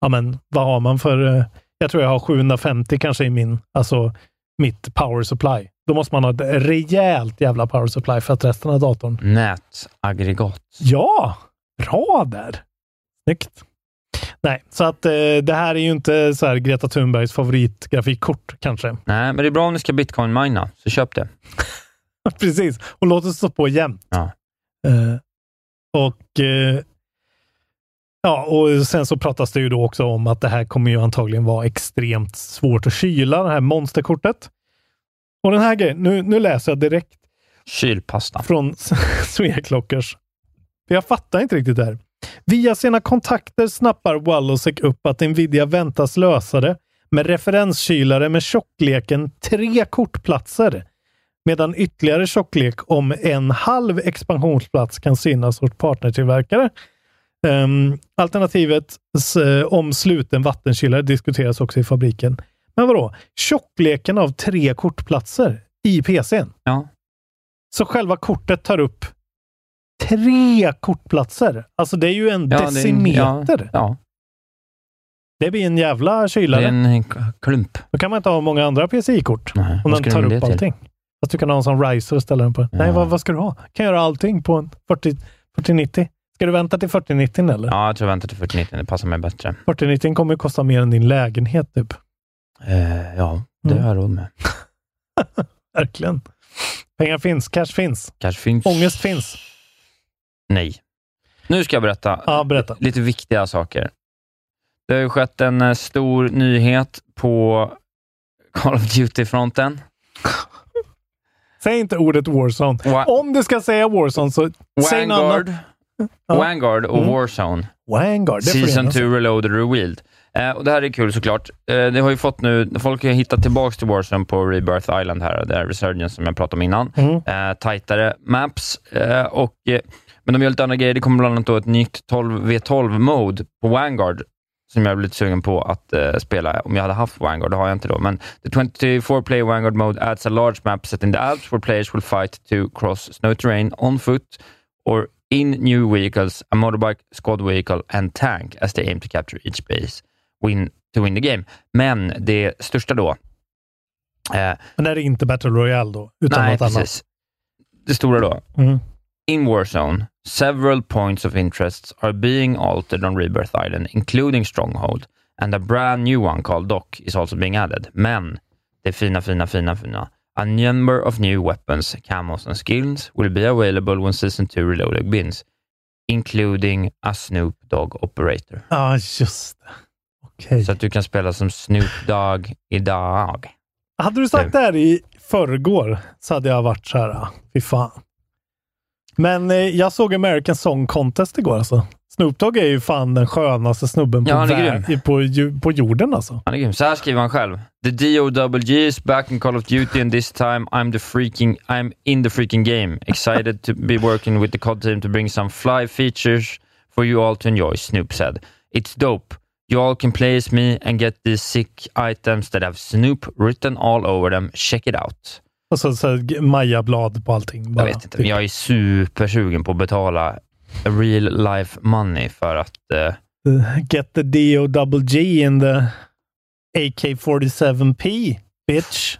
ja men vad har man för, eh, jag tror jag har 750 kanske i min, alltså mitt power supply. Då måste man ha ett rejält jävla power supply för att resten av datorn
Nätaggregat.
Ja, bra där. Snyggt. Nej, så att eh, det här är ju inte så här Greta Thunbergs favoritgrafikkort kanske.
Nej, men det är bra om du ska bitcoin-mina, så köp det.
<laughs> Precis, och låt oss stå på jämt.
Ja.
Eh, och eh, ja, och sen så pratas det ju då också om att det här kommer ju antagligen vara extremt svårt att kyla, det här monsterkortet. Och den här grejen, nu, nu läser jag direkt
Kylpasta.
från <laughs> Sveaklockers. För jag fattar inte riktigt det här. Via sina kontakter snappar Wallosek upp att Nvidia väntas lösa det med referenskylare med tjockleken tre kortplatser. Medan ytterligare tjocklek om en halv expansionsplats kan synas hos partnertillverkare. Um, alternativet s- eh, om sluten vattenkylare diskuteras också i fabriken. Men vadå? Tjockleken av tre kortplatser i PCn?
Ja.
Så själva kortet tar upp tre kortplatser. Alltså det är ju en
Ja, det är en-
decimeter. Det,
Ja,
blir en jävla
det
kylare.
är en klump.
Då kan man inte ha många andra PCI-kort.
Nej,
Om
vad ska
den tar
de
upp
det till?
allting. Fast du kan ha en sån riser och ställa den på. Nej,
Ja.
vad, vad ska du ha? Kan göra allting på en 40, 4090. Ska du vänta till 4090 eller?
Ja, jag tror jag väntar till 4090. Det passar mig bättre.
4090 kommer ju kosta mer än din lägenhet typ.
Eh, ja, det
Mm.
har jag råd med.
Verkligen. Pengar finns, cash finns,
Kanske finns...
ångest finns.
Nej. Nu ska jag berätta
Ja, berätta.
lite viktiga saker. Det har ju skett en eh, stor nyhet på Call of Duty-fronten.
Säg inte ordet Warzone.
Wa-
Om du ska säga Warzone så säg något annat.
Vanguard,
Ja.
Vanguard och
Mm.
Warzone.
Vanguard. Det är
Season
förenas.
2 Reloaded Revealed. Eh, och det här är kul såklart. Eh, det har ju fått nu, folk har hittat tillbaka till Warzone på Rebirth Island här, det här Resurgence som jag pratade om innan.
Mm.
eh, tajtare maps. Eh, och, eh, men de gör lite andra grejer. Det kommer bland annat då ett nytt 12 V12-mode på Vanguard som jag blev lite sugen på att eh, spela om jag hade haft Vanguard. Det har jag inte då. Men the 24-player Vanguard mode adds a large map set in the Alps where players will fight to cross snow terrain on foot or in new vehicles, a motorbike, squad vehicle and tank as they aim to capture each base win, to win the game. Men det största då, eh,
Men det här är inte Battle Royale då, utan
nej
något annat.
precis, det stora då,
Mm.
In Warzone, several points of interests are being altered on Rebirth Island, including Stronghold, and a brand new one called Dock is also being added. Men, det är fina, fina, fina, fina. A number of new weapons, camos and skills will be available when Season 2 Reloaded begins, including a Snoop Dogg Operator.
Ja, just det. Okej.
Så att du kan spela som Snoop Dogg idag.
Hade du sagt det här i förrgår så hade jag varit så här, ah, fy fan. Men eh, jag såg American Song Contest igår alltså. Snoop Dogg är ju fan den skönaste snubben på,
Ja, han är
vär- i- på, ju- på jorden alltså.
Han är grym. Så här skriver han själv. The DOWG is back in Call of Duty and this time I'm the freaking, I'm in the freaking game. Excited to be working with the COD team to bring some fly features for you all to enjoy, Snoop said. It's dope. You all can play as me and get these sick items that have Snoop written all over them. Check it out.
Och så, så här, g- Maja-blad på allting. Bara, typ.
Jag vet inte, men jag är supersugen på att betala real life money för att... eh,
Get the DOWG in the AK47P, bitch.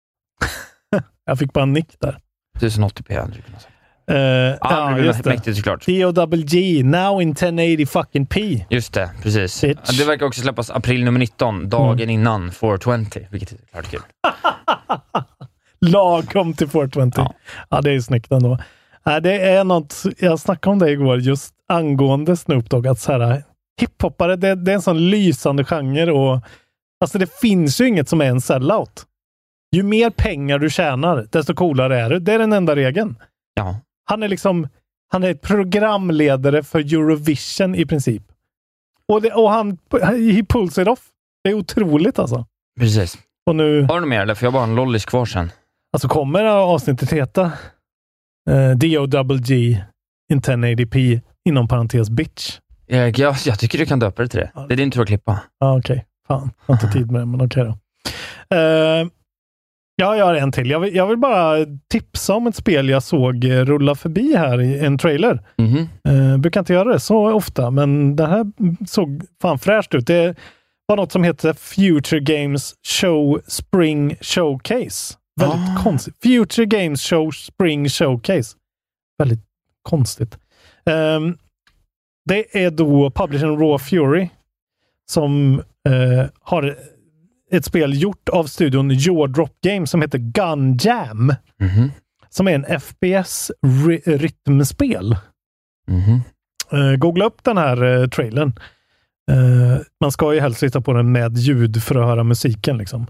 <laughs> jag fick bara en nick där.
1080p hade du kunnat säga.
Eh,
Ja,
ja, just det.
mäktigt såklart.
DOWG, now in 1080 fucking P.
Just det, precis.
Bitch. Mm.
Ja, Det verkar också släppas april nummer 19, dagen innan 420, vilket är klart kul.
Lagom till 420. Ja.
Ja.
det är snyggt ändå. Nej, det är något, jag snackade om det igår, just angående Snoop Dogg, att så här, hiphoppare, det, det är en sån lysande genre och alltså det finns ju inget som är en sellout. Ju mer pengar du tjänar, desto coolare är du. Det är den enda regeln.
Ja,
Han är liksom, han är programledare för Eurovision i princip. Och, det, och han, he pulls it off. Det är otroligt alltså.
precis.
Och nu...
Har du något mer eller? För jag har bara en lollis kvar sen.
Alltså kommer avsnittet heta eh, DOWG in 1080p inom parentes bitch?
Jag, jag, jag tycker du kan döpa det till det. Det är din tur att klippa.
Ja, ah, okej. Fan, jag har inte tid med det, men okej då. Eh, ja, jag har en till. Jag vill, jag vill bara tipsa om ett spel jag såg eh, rulla förbi här i en trailer.
Mhm.
Eh, brukar inte göra det så ofta, men det här såg fan fräscht ut. Det var något som heter Future Games Show Spring Showcase. Väldigt
Ah.
konstigt. Future Games Show Spring Showcase. Väldigt konstigt. Ehm, det är då publishern Raw Fury som eh, har ett spel gjort av studion Jaw Drop Games som heter Gun Jam.
Mhm.
Som är en FPS-rytmspel.
Mhm.
Eh, googla upp den här eh, trailern. Eh, man ska ju helst sitta på den med ljud för att höra musiken. Liksom.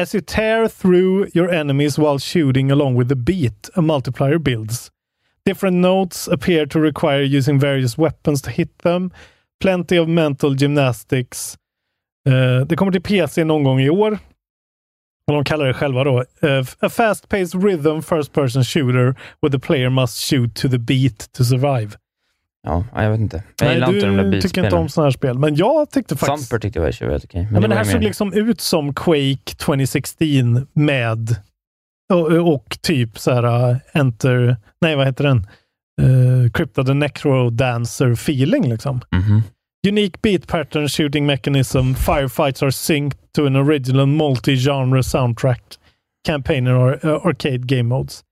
As you tear through your enemies while shooting along with the beat, a multiplier builds. Different notes appear to require using various weapons to hit them. Plenty of mental gymnastics. Eh, det kommer till PC någon gång i år. Och de kallar det själva då. eh, a fast-paced rhythm first person shooter where the player must shoot to the beat to survive.
Ja, nej, jag vet inte. Jag gillar inte de där
du tycker inte
bilspelen.
om sådana här spel, men jag tyckte faktiskt...
Thumper tyckte jag var tjuvigt, okej.
ja, men det
var
här
ju
såg
mer-
liksom ut som Quake 2016 med... Och, och typ så här äh, Enter... Nej, vad heter den? eh, Crypta the Necro Dancer-feeling. Liksom.
Mhm.
Unique beat pattern, shooting mechanism, firefights are synced to an original multi-genre soundtrack, campaigner or eh, arcade game modes.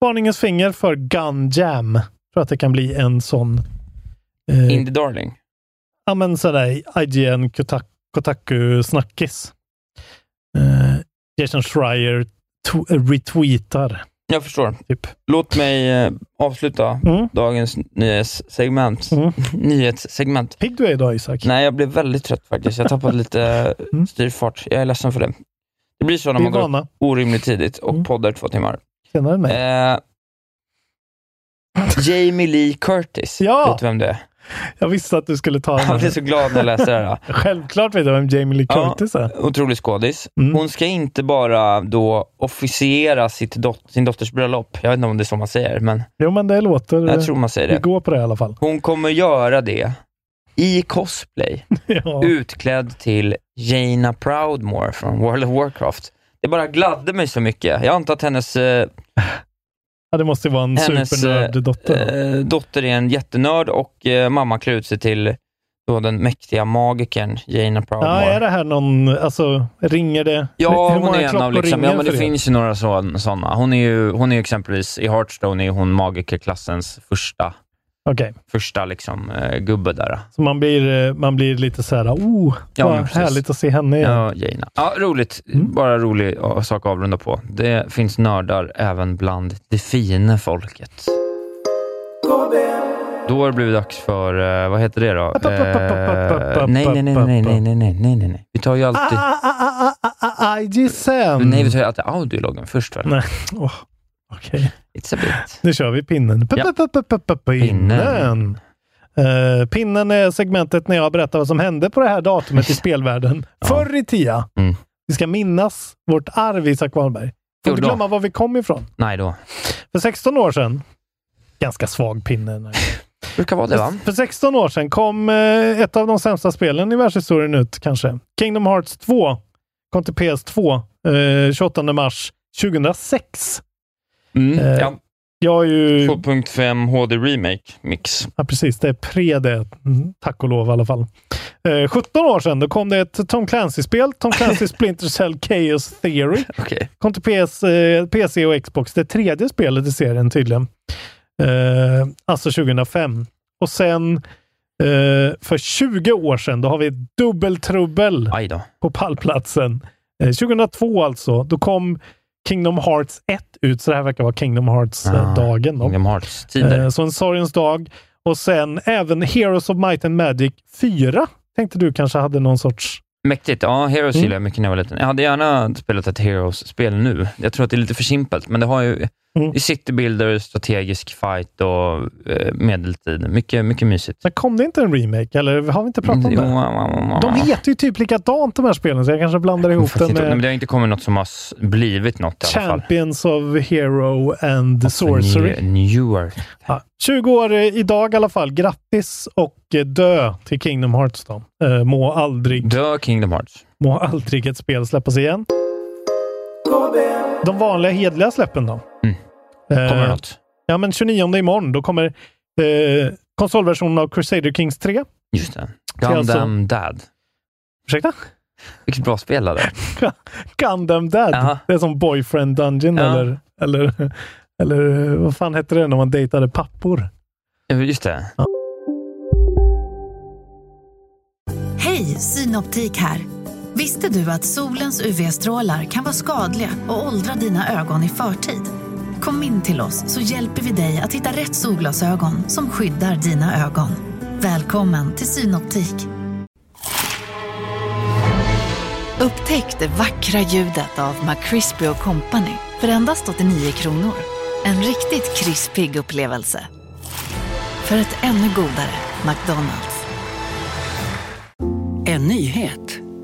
Varningens finger för Gun Jam. tror att det kan bli en sån... eh,
Indie Darling.
ja men sådär IGN Kotak- Kotaku-snackis. Eh, Jason Schreier to- retweetar.
Jag förstår.
Typ.
Låt mig eh, avsluta
Mm.
dagens nyhetssegment.
Mm.
<laughs> nyhetssegment.
Pigg du är idag Isak.
Nej, jag blev väldigt trött faktiskt. Jag tappade lite eh,
Mm.
styrfart. Jag är ledsen för det. Det blir så när
Vi är
man går upp
vana.
orimligt tidigt och
Mm.
poddar två timmar.
Senare än mig.
Eh, Jamie Lee Curtis.
<laughs> Ja!
Vet du vem det är?
Jag visste att du skulle ta den
Jag blir
här.
så glad när jag läser det här.
Självklart vet jag vem Jamie Lee
Ja.
Curtis är.
Otrolig skådis.
Mm.
Hon ska inte bara då officiera sitt dot- sin dotters bröllop. Jag vet inte om det är så man säger, men
Jo men det låter...
jag tror man säger
vi
det.
går på det i
<laughs>
alla fall.
Hon kommer göra det i cosplay,
ja.
utklädd till Jaina Proudmore från World of Warcraft. Det bara gladde mig så mycket. Jag antar att hennes, eh,
ja, det måste ju vara en
Hennes,
supernörd-dotter.
eh, dotter är en jättenörd och eh, mamma klär ut sig till då den mäktiga magikern Jaina
ja,
Proudmore.
är det här någon... Alltså, ringer det?
Ja,
Hur
hon är
många
en av
klockor
liksom, ja,
ringer
men
för
det
er?
finns ju några sådana. Hon är ju hon är ju exempelvis, i Hearthstone är hon magikerklassens första,
Okej,
första liksom, eh, gubbe där.
så man blir, eh, man blir lite så här, oh,
Ja, men
vad
precis.
härligt att se henne igen.
Ja, Jaina. Ja, roligt.
Mm.
Bara rolig ja, sak att avrunda på. Det finns nördar även bland det fina folket. Då har det blivit dags för, eh, vad heter det då? Eh, Nej, nej, nej, nej, nej, nej, nej, nej, nej, nej. Vi tar ju alltid,
Ah, ah, ah, ah, ah, ah, IG Sam!
nej, vi tar ju alltid audiologen först väl?
Nej. Åh, Okej,
It's a bit.
nu kör vi pinnen.
Ja. Pinnen.
Pinnen. Eh, pinnen är segmentet när jag berättar vad som hände på det här datumet i spelvärlden.
<laughs> Ja.
Förr i tia.
Mm.
Vi ska minnas vårt arv, Isak Wahlberg. Får inte
Jo då.
glömma var vi kom ifrån.
Nej då.
För 16 år sedan, ganska svag pinne.
Brukar vara det va?
För 16 år sedan kom eh, ett av de sämsta spelen i världshistorien ut kanske. Kingdom Hearts 2 kom till PS2 eh, 28 mars 2006.
Mm.
Eh,
Ja.
Jag har ju...
2.5 HD Remake Mix.
Ja, precis. Det är pre det. Mm, Tack och lov i alla fall. Eh, 17 år sedan då kom det ett Tom Clancy-spel. Tom Clancy Splinter Cell Chaos Theory.
Okej.
Kom till PS, eh, PC och Xbox. Det tredje spelet i serien tydligen. Eh, alltså 2005. Och sen eh, för 20 år sedan, då har vi dubbeltrubbel
Aj då.
på pallplatsen. Eh, 2002 alltså. Då kom Kingdom Hearts 1 ut, så det här verkar vara Kingdom Hearts-dagen. då.
Kingdom Hearts-tider.
Eh, Så en sorgens dag. Och sen även Heroes of Might and Magic 4. Tänkte du kanske hade någon sorts...
Mäktigt. Ja, Heroes
Mm.
gillade jag mycket när jag var liten. Jag hade gärna spelat ett Heroes-spel nu. Jag tror att det är lite för simpelt, men det har ju
Mm.
i citybuilder, strategisk fight och eh, medeltid. Mycket, mycket mysigt. Mm,
Men kom det inte en remake? Eller har vi inte pratat om
Jo,
det?
ja, ja, ja, ja.
De heter ju typ likadant de här spelen, så jag kanske blandar
Jag kommer
ihop
faktiskt
det
inte ihåg. Nej, men
med
det har inte kommit något som har s- blivit något i alla fall. Alltså,
Champions of Hero and Sorcery.
New- Newer.
Ja, 20 år eh, idag i alla fall. Grattis och eh, dö till Kingdom Hearts då. Eh, Må aldrig,
Dö Kingdom Hearts.
må aldrig ett spel släppas igen. De vanliga hedliga släppen då?
Mm. Kommer
Eh,
något?
Ja, men 29 imorgon, då kommer eh, konsolversionen av Crusader Kings 3.
Just det.
är
Gundam
alltså-
Dad.
Ursäkta?
Vilket bra spel det där.
<laughs> Gundam Dad.
Jaha.
Det är som Boyfriend Dungeon
Ja.
eller, eller, eller eh, vad fan hette det när man dejtade pappor?
Ja, Just det.
Hej, Synoptik här. Visste du att solens UV-strålar kan vara skadliga och åldra dina ögon i förtid? Kom in till oss så hjälper vi dig att hitta rätt solglasögon som skyddar dina ögon. Välkommen till Synoptik. Upptäck det vackra ljudet av McCrispy Company för endast 89 kronor. En riktigt krispig upplevelse. För ett ännu godare McDonalds.
En nyhet.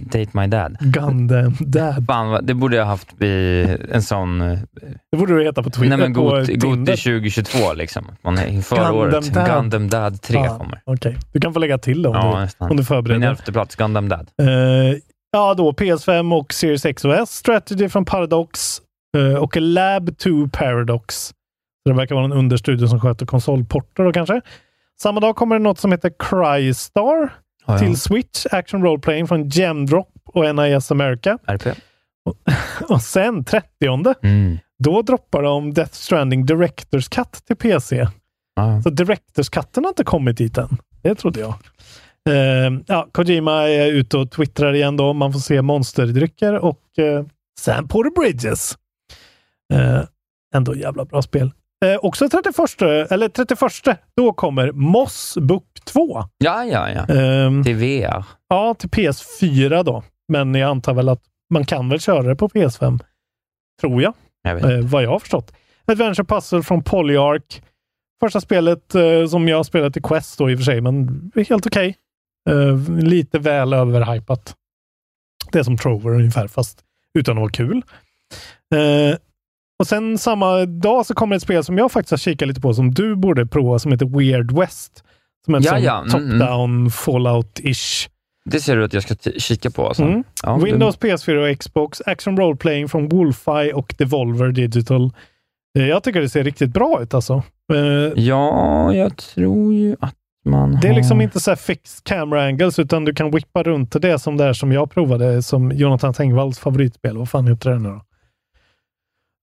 Date My Dad.
Gundam Dad.
Fan, vad- det borde jag haft i en sån... eh,
Det borde du heta på Twitter.
Nej, men
på
Goti
Tinder.
Goti 2022 liksom. Att Man är inför
Gundam
året.
Dad.
Gundam Dad 3
Ah,
kommer.
Okej, du kan få lägga till det om,
Ja,
du, om du förbereder.
Min elfte plats, Gundam Dad.
Eh, ja, då PS5 och Series X och S. Strategy från Paradox eh, och Lab 2 Paradox. Så det verkar vara en understudio som sköter konsolporter då kanske. Samma dag kommer det något som heter Crystar
Ja, ja.
till Switch, Action Role Playing från Gemdrop och NIS America.
RP.
<laughs> Och sen 30
Mm.
då droppar de Death Stranding Directors Cut till PC.
Ja.
Så Directors Cutten har inte kommit dit än. Det trodde jag. Eh, ja, Kojima är ute och twittrar igen då. Man får se monsterdrycker och uh, Sam Porter Bridges. Eh, ändå jävla bra spel. Eh, också 31, eller 31, då kommer Moss Book 2.
Ja, ja, ja.
Ehm,
Till VR.
Ja, till PS4 då. Men jag antar väl att man kan väl köra det på PS5. Tror jag.
Jag vet.
Eh, vad jag har förstått. Adventure Puzzle från Polyarch. Första spelet eh, som jag har spelat i Quest då i och för sig, men det är helt okej. Eh, lite väl överhypat. Det är som Trover ungefär, fast utan att vara kul. Eh, och sen samma dag så kommer ett spel som jag faktiskt har kikat lite på, som du borde prova, som heter Weird West. Som är ett
Ja,
sånt
ja, mm,
top-down Fallout-ish.
Det ser du att jag ska t- kika på. Alltså.
Mm.
Ja, det-
Windows, PS4 och Xbox. Action Role Playing från Wolfeye och Devolver Digital. Eh, Jag tycker det ser riktigt bra ut alltså. Eh,
Ja, jag tror ju att man
Det är liksom
har-
inte så här fixed camera angles, utan du kan whippa runt till det som det är som jag provade, som Jonathan Tengvalls favoritspel. Vad fan heter det nu då?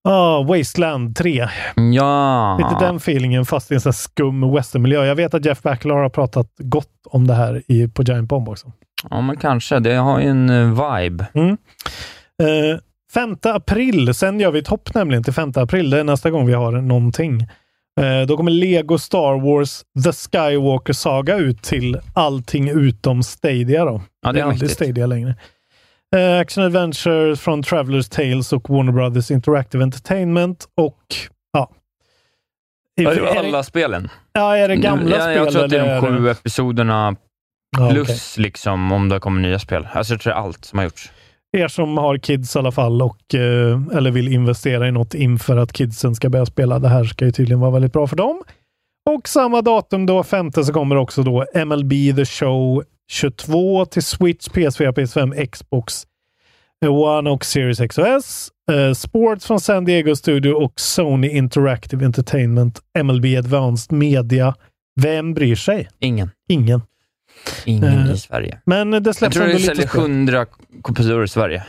Ah, Wasteland 3.
Ja.
Lite den feelingen, fast i en sån här skum westernmiljö. Jag vet att Jeff Backlar har pratat gott om det här i, på Giant Bomb också.
Ja, men kanske. Det har ju en eh, vibe.
Mm. Eh, 5 april, sen gör vi ett hopp nämligen till 5 april. Det är nästa gång vi har någonting. Eh, då kommer Lego Star Wars The Skywalker Saga ut till allting utom Stadia. Då.
Ja, det är
aldrig
mäktigt.
Stadia längre. Eh, Action Adventures från Travelers Tales och Warner Brothers Interactive Entertainment och ja.
Är det
Är det-
alla spelen?
Ja, är det gamla
Mm, ja,
spel?
Jag tror att det
eller
är de
är
sju episoderna
Ja,
plus
okej.
liksom om det kommer nya spel. Alltså jag tror det är allt som har gjorts.
er som har kids i alla fall och, eh, eller vill investera i något inför att kidsen ska börja spela. Det här ska ju tydligen vara väldigt bra för dem. Och samma datum då, femte, så kommer också då MLB The Show 22 till Switch, PS4, PS5, Xbox One och Series X och S. Eh, Sports från San Diego Studio och Sony Interactive Entertainment, MLB Advanced Media. Vem bryr sig?
Ingen.
Ingen.
Ingen
Eh,
i Sverige.
Men det släpps
Jag tror
ändå
det
lite
säljer
spel.
100 kopior i Sverige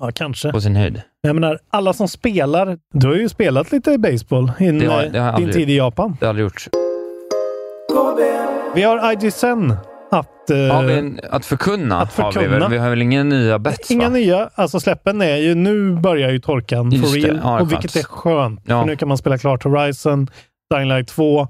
Ja, kanske.
på sin höjd.
Jag menar, alla som spelar. Du har ju spelat lite baseball in, eh,
Det har- det har jag
din
aldrig-
tid i Japan.
Det har aldrig gjorts.
Vi har IGSN att... eh,
Har vi en, att förkunna,
att
Har vi,
förkunna.
väl, vi har väl inga nya bets
Inga
va?
nya, alltså släppen är ju, nu börjar ju torkan
Just
for
det.
real.
Ja, det är
och vilket är
skönt.
skönt.
Ja.
För nu kan man spela klart Horizon, Dying Light 2,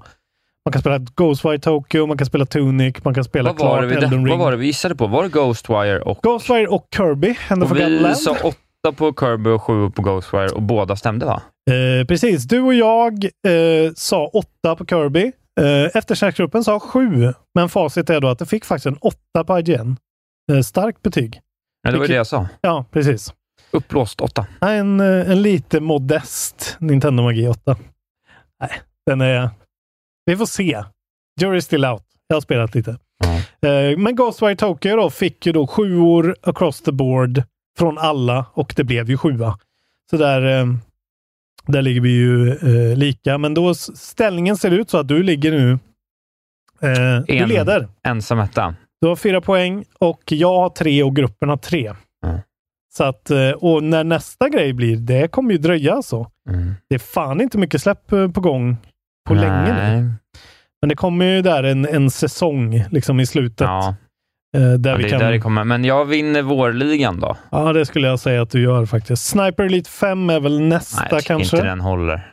man kan spela Ghostwire Tokyo, man kan spela Tunic, man kan spela
Vad var,
klart
det vi, där-
Elden Ring.
vad var det vi gissade på? Var det Ghostwire och...
Ghostwire och Kirby, Hand of
och
Forgotten
vi
Land.
sa åtta på Kirby och sju på Ghostwire och båda stämde va?
Eh, precis, du och jag eh, sa åtta på Kirby. Eh, Eftersnacksgruppen sa sju, men facit är då att det fick faktiskt en åtta på IGN. Eh, starkt betyg.
Ja, det var ju det jag sa.
Ja, precis.
Uppblåst åtta.
Nej, En, eh, en lite modest Nintendo Magi 8. Nej, den är... Vi får se. Jury's still out. Jag har spelat lite. Eh, Men Ghostwire Tokyo då fick ju då sjuor across the board från alla och det blev ju sjua. Så där, eh, där ligger vi ju eh, lika. Men då s- ställningen ser ut så att du ligger nu... eh, Du
En.
leder.
Ensam etta.
Du har fyra poäng och jag har tre och gruppen har tre. Så att, eh, och när nästa grej blir, det kommer ju dröja alltså.
Mm.
Det är fan inte mycket släpp eh, på gång på länge nu.
Nej.
Men det kommer ju där en, en säsong liksom i slutet.
Ja,
eh, där
ja,
vi
det är
kan...
där det kommer. Men jag vinner vårligan då.
Ja, det skulle jag säga att du gör faktiskt. Sniper Elite 5 är väl nästa
Nej, jag tycker
kanske?
inte den håller.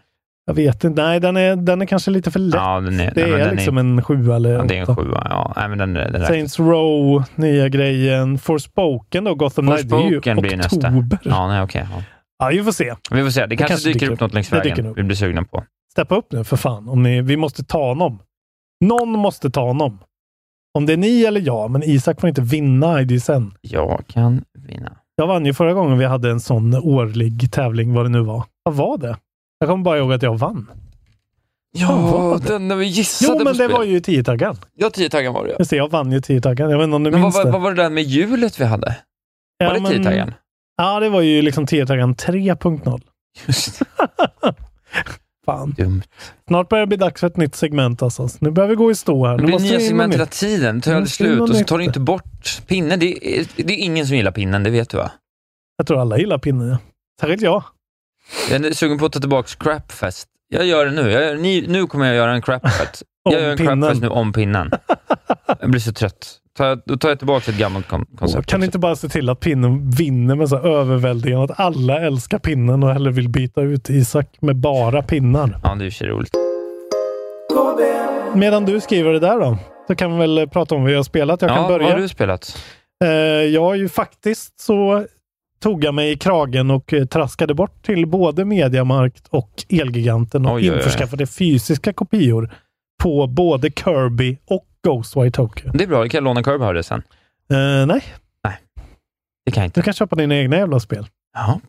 Jag vet inte. Nej, den är, den är kanske lite för lätt.
Ja, den är,
det
nej, men
är
den
liksom
är,
en sjua eller
ja, det är en
åtta.
sjua. Ja, nej, men den, den räknas.
Saints Row, nya grejen. Forspoken då, Gotham Knight. Det är ju
Forspoken blir nästa.
oktober.
Ja, nej, okej. ja.
Ja, vi får se.
Vi får se. Det, kanske, dyker upp något längs
Det dyker
vägen
upp.
vi blir sugna på.
Steppa upp nu för fan. Om ni, vi måste ta honom. Någon måste ta honom. Om det är ni eller jag, men Isak får inte vinna IDSN.
Jag kan vinna.
Jag vann ju förra gången vi hade en sån årlig tävling, vad det nu var. Vad var det? Jag kommer bara ihåg att jag vann. Vad var
Ja,
det?
den när vi gissade
Jo, men
på
det
spel.
var ju tiotaggan.
Ja, tiotaggan var det ja.
Just det, jag vann ju tiotaggan. Jag vet inte om du
Men vad,
minns
var-
det.
vad var det där med hjulet vi hade?
Ja,
var det
men-
tiotaggan?
Ja, det var ju liksom tiotaggan 3.0.
Just det.
Fan.
Dumt.
Snart börjar det bli dags för ett nytt segment alltså. Så nu börjar vi gå i stå här.
Det
Nu
blir
måste
nya
vi in med
segment hela
nytt.
tiden, tar
Nu
aldrig
måste in
slut
något
och så
nytt.
tar du inte bort pinnen. Det är, det är ingen som gillar pinnen, det vet du va?
Jag tror alla gillar pinnen. ja. Särskilt jag.
Jag är sugen på att ta tillbaka crapfest. Jag gör det nu. Jag, gör- ni, nu kommer jag göra en
<laughs>
crapfest. jag
Om
gör en
pinnen.
crapfest nu om pinnen. Jag blir så trött. Ta, då tar jag tillbaka ett gammalt kon- koncept.
Alltså, Kan ni inte bara se till att pinnen vinner med så här överväldigande? Att alla älskar pinnen och hellre vill byta ut Isak med bara pinnar.
Ja, det är i och för sig roligt.
Medan du skriver det där då, så kan vi väl prata om vad jag har spelat. Jag
ja,
kan börja.
Vad har du spelat?
Eh, jag har ju faktiskt så tog jag mig i kragen och eh, traskade bort till både Mediamarkt och Elgiganten och
Oj, oj, oj.
införskaffade fysiska kopior på både Kirby och Ghostwire Tokyo.
Det är bra, jag kan låna Curb här sen.
Eh, nej,
Det kan jag
du
inte.
kan köpa dina egna jävla spel.
Ja,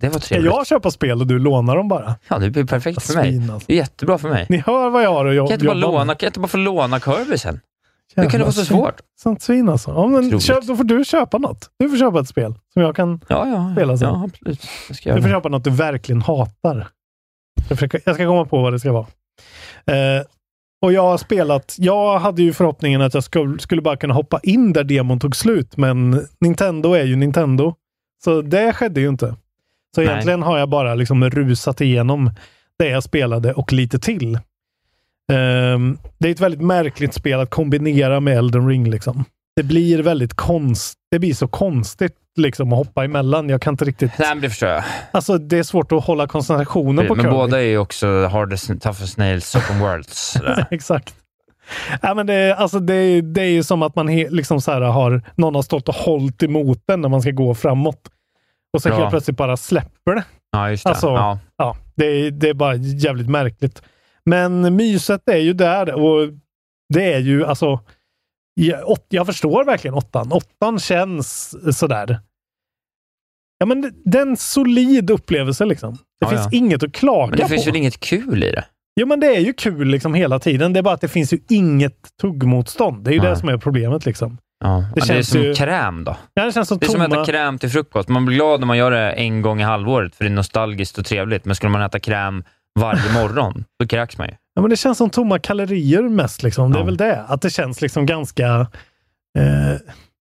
det var
Ska
trevligt.
jag köpa spel och du lånar dem bara?
Ja, det blir perfekt för mig.
Svin, alltså.
Det är jättebra för mig.
Ni hör vad jag har att
Kan
jobba
jag inte bara,
jobba med.
låna, kan jag inte bara få låna Curb sen? Hur kan det
Jävla
vara så
svin.
svårt?
Sånt svin alltså. Ja, men
Otroligt.
köp, då får du köpa något. Du får köpa ett spel som jag kan...
Ja, ja,
Spela sen.
ja absolut. Jag ska
Du
göra
får
det.
köpa något du verkligen hatar. Jag, försöker, jag ska komma på vad det ska vara. Eh, och jag har spelat... Jag hade ju förhoppningen att jag skulle, skulle bara kunna hoppa in där demon tog slut, men Nintendo är ju Nintendo. Så det skedde ju inte. Så
Nej.
egentligen har jag bara liksom rusat igenom det jag spelade och lite till. Ehm, det är ett väldigt märkligt spel att kombinera med Elden Ring. Liksom. Det blir väldigt konst, det blir så konstigt liksom, att hoppa emellan. Jag kan inte riktigt...
Nej, men det förstår jag.
Alltså, det är svårt att hålla koncentrationen på
Men
Kirby.
båda är ju också hardest, toughest nails, open worlds.
<laughs>
sådär.
Exakt. Ja, men det, är- alltså det, är- det är ju som att man he, liksom så här har, någon har stått och hållit emot den när man ska gå framåt. Och så
Bra.
helt plötsligt bara släpper det.
Ja, just det.
Alltså,
ja.
Ja, det, är, det är bara jävligt märkligt. Men myset är ju där och det är ju alltså... ja, åt- Jag förstår verkligen åttan. Åttan känns sådär. Ja, men det- det är en solid upplevelse liksom. Det
Ja,
finns
ja.
inget att klaga
Men det finns
på.
väl inget kul i det?
Jo, men det är ju kul liksom hela tiden. Det är bara att det finns ju inget tuggmotstånd. Det är ju
Nej.
det som är problemet liksom.
Ja.
Det
Det, det är
känns
som
ju-
kräm då.
Ja, det känns som
Det är
tomma...
som att äta kräm till frukost. Man blir glad när man gör det en gång i halvåret, för det är nostalgiskt och trevligt. Men skulle man äta kräm varje morgon, då kräks man ju.
Ja, men det känns som tomma kalorier mest. Liksom. Det är
Ja.
väl det. Att det känns liksom ganska... Eh,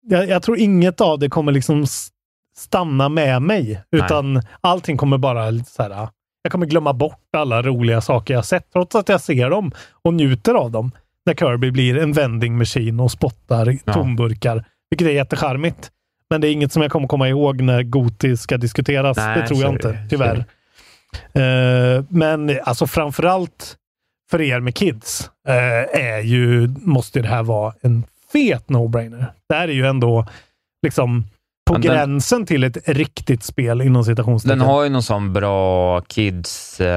jag, jag tror inget av det kommer liksom s- stanna med mig. Utan allting kommer bara lite så här... ah, Jag kommer glömma bort alla roliga saker jag sett, trots att jag ser dem och njuter av dem. När Kirby blir en vending machine och spottar i
Ja.
tomburkar, vilket är jättecharmigt. Men det är inget som jag kommer komma ihåg när Goti ska diskuteras.
Nej,
det tror jag
så är det.
inte, tyvärr. Eh, men alltså framförallt för er med kids eh, är ju, måste det här vara en fet no-brainer. Det här är ju ändå liksom på
Men den-
gränsen till ett riktigt spel inom citationstecken.
Den har ju någon sån bra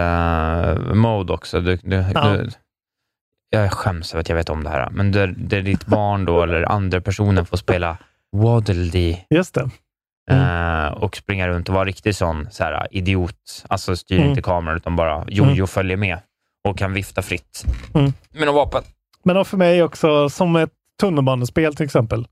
kids-mode också. Du, du,
Ja.
du, jag skäms över att jag vet om det här, men där, där ditt barn då, eller andra personen får spela Waddle
Just det.
mm. och springa runt och vara riktig sån så här, idiot. Alltså styr
Mm.
inte kameran, utan bara jojo följer med och kan vifta fritt.
Mm.
Med någon vapen.
Men och för mig också som ett tunnelbanespel till exempel.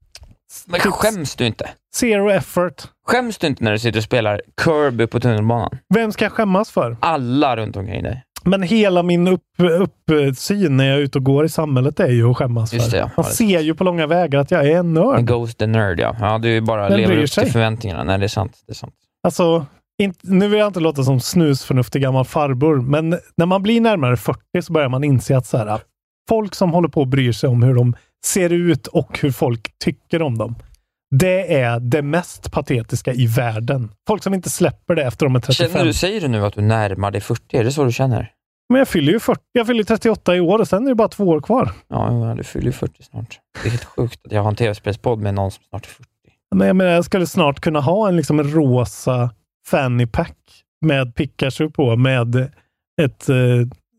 Men
Kids.
skäms du inte?
Zero effort.
Skäms du inte när du sitter och spelar Kirby på tunnelbanan?
Vem ska jag skämmas för?
Alla runt omkring dig.
Men hela min uppsyn upp, uppsyn när jag är ute och går i samhället är ju att skämmas
Just
för.
det, ja.
Man
Ja, det-
ser ju på långa vägar att jag är en nörd.
Ghost the Nerd, ja. ja du bara
Vem
lever
bryr
upp
sig?
till förväntningarna. Nej, det är sant. Det är sant.
Alltså, inte- nu vill jag inte låta som snusförnuftig gammal farbror, men när man blir närmare 40 så börjar man inse att så här, folk som håller på och bryr sig om hur de ser ut och hur folk tycker om dem. Det är det mest patetiska i världen. Folk som inte släpper det efter de är 35.
Känner du, säger du nu att du närmar dig 40? Är det så du känner?
Men jag fyller ju 40. Jag fyller 38 i år och sen är det bara två år kvar.
Ja, ja, du fyller ju 40 snart. Det är helt sjukt att jag har en tv-spelspodd med någon som snart är 40.
Men jag, menar, jag skulle snart kunna ha en liksom rosa fanny pack med Pikachu på med ett eh,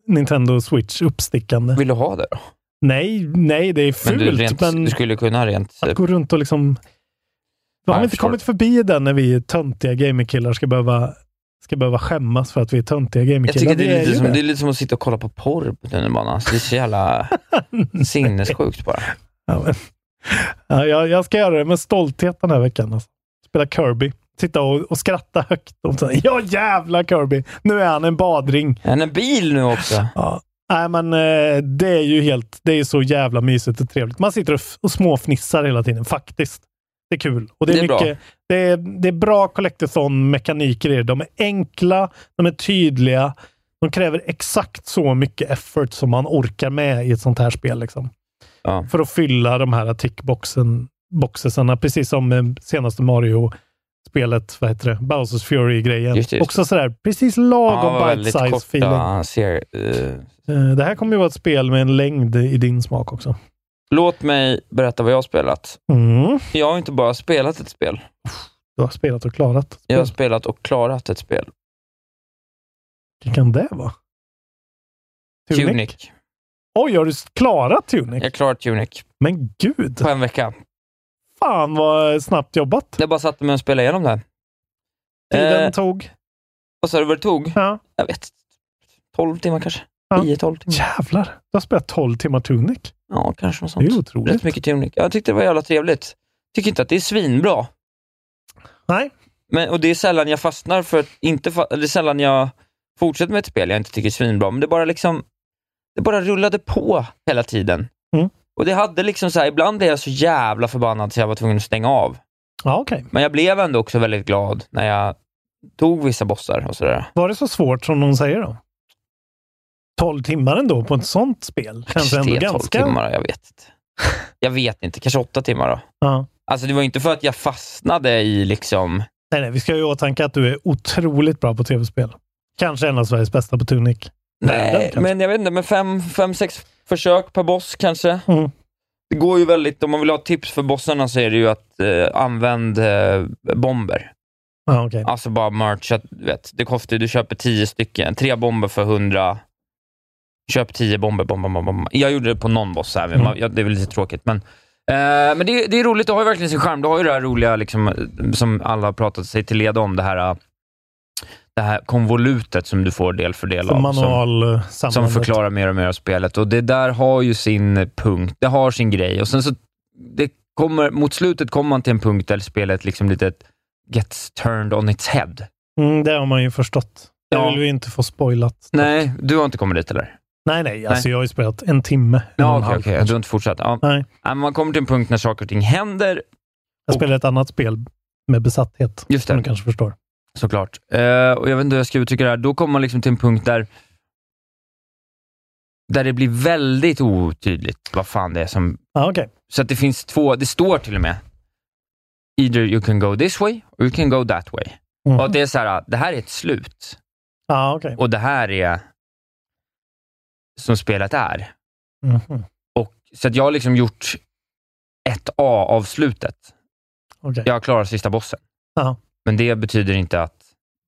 Nintendo Switch uppstickande.
Vill du ha det då?
Nej, nej, det är fult.
Men du, rent,
men
du skulle kunna rent...
att gå runt och liksom... Vi har
jag
inte
förstår.
kommit förbi den när vi töntiga gamingkillar ska behöva, ska behöva skämmas för att vi är töntiga
Jag
gamingkillar.
tycker det är,
ju
lite som,
det.
det är lite som att sitta och kolla på porr på tunnelbanan. Alltså, det är så
<laughs>
jävla sinnessjukt bara.
Ja, men, ja, jag, jag ska göra det med stolthet den här veckan. Alltså. Spela Kirby. Sitta och, och skratta högt. Och så, här, ja jävla Kirby! Nu är han en badring.
Han är en bil nu också.
Ja. Nej, men eh, det är ju helt, det är så jävla mysigt och trevligt. Man sitter och, f- och småfnissar hela tiden, faktiskt. Det är kul. Och det, är
Det är bra.
mycket, Det, är, det är bra collectathon-mekaniker i det. De är enkla, de är tydliga. De kräver exakt så mycket effort som man orkar med i ett sånt här spel. Liksom.
Ja.
För att fylla de här tickboxen, boxesarna, precis som eh, senaste Mario-spelet, vad heter det? Bowsers Fury-grejen.
Just det, just det.
Också sådär, precis lagom
Ja, väldigt
bite-size feeling.
korta serier. Eh,
Eh, Det här kommer ju vara ett spel med en längd i din smak också.
Låt mig berätta vad jag har spelat.
Mm.
Jag har inte bara spelat ett spel.
Du har spelat och klarat. Spel.
Jag har spelat och klarat ett spel.
Vilken kan det vara? Tunic?
Tunic.
Oj, har du s- klarat Tunic?
Jag klarade Tunic
Men gud!
på en vecka.
Fan vad snabbt jobbat
Jag bara satte mig och spelade igenom det.
tiden
Eh,
tog.
Vad sa du vad det tog?
Ja.
Jag vet 12 timmar kanske?
Ja.
10-12 timmar?
Jävlar! Du har spelat 12 timmar Tunic.
Ja, kanske något sånt.
Det är ju
Rätt
otroligt.
mycket Tunic. Jag tyckte det var jävla trevligt. Tycker inte att det är svinbra.
Nej.
Men, och det är sällan jag fastnar för att inte fa- eller sällan jag fortsätter med ett spel jag inte tycker är svinbra, men det bara liksom det bara rullade på hela tiden.
Mm.
Och det hade liksom så här, ibland är jag så jävla förbannad så jag var tvungen att stänga av.
Ja, okej.
Men jag blev ändå också väldigt glad när jag tog vissa bossar och sådär.
Var det så svårt som de säger då? 12 timmar ändå på ett sånt spel? Känns
Kanske
ändå
det är 12
ganska...
timmar, jag vet inte. Jag vet inte, kanske åtta timmar då.
Ja.
Alltså det var ju inte för att jag fastnade i liksom...
Nej, nej, vi ska ju ha i åtanke att du är otroligt bra på tv-spel. Kanske en av Sveriges bästa på Tunic. Världen,
Nej,
kanske.
men jag vet inte, men fem, fem, sex försök per boss kanske.
Mm.
Det går ju väldigt, om man vill ha tips för bossarna så är det ju att eh, använd eh, bomber.
Ja, okej.
Alltså bara mercha, du vet. Det kostar ju, du köper tio stycken, tre bomber för hundra. Köp tio bomber, bomba, bomba, bomba. Jag gjorde det på någon boss här, men
Mm.
man- ja, det är väl lite tråkigt. Men, eh, men det, det är roligt, det har ju verkligen sin charm. Det har ju det här roliga, liksom, eh, som alla har pratat sig till leda om, det här, eh, det här konvolutet som du får del för del
Som
av. som-
manual eh,
som förklarar mer och mer av spelet. Och det där har ju sin punkt, det har sin grej. Och sen så, det kommer, mot slutet kommer man till en punkt där spelet liksom lite gets turned on its head.
Mm, det har man ju förstått. Det
Ja.
vill vi inte få spoilat.
Nej, du har inte kommit dit eller?
Nej, nej. Alltså, jag har ju spelat en timme. en och
Ja,
en
okej,
halv
okej.
kanske.
Du har inte fortsatt? Ja.
Nej.
Ja, men Man kommer till en punkt när saker och ting händer,
Jag spelade ett annat spel med besatthet.
Just det.
Som du kanske förstår.
såklart. Eh, och jag vet inte hur jag ska uttrycka det här. Då kommer man liksom till en punkt där där det blir väldigt otydligt vad fan det är som
Ja, okej.
Så att det finns två, det står till och med either you can go this way or you can go that way.
Mhm.
Och att det är så här, det här är ett slut
Ja, okej.
och det här är som spelet är.
Mhm.
Och, så att jag har liksom gjort ett A av slutet.
Okej.
Jag klarar sista bossen.
Ja.
Men det betyder inte att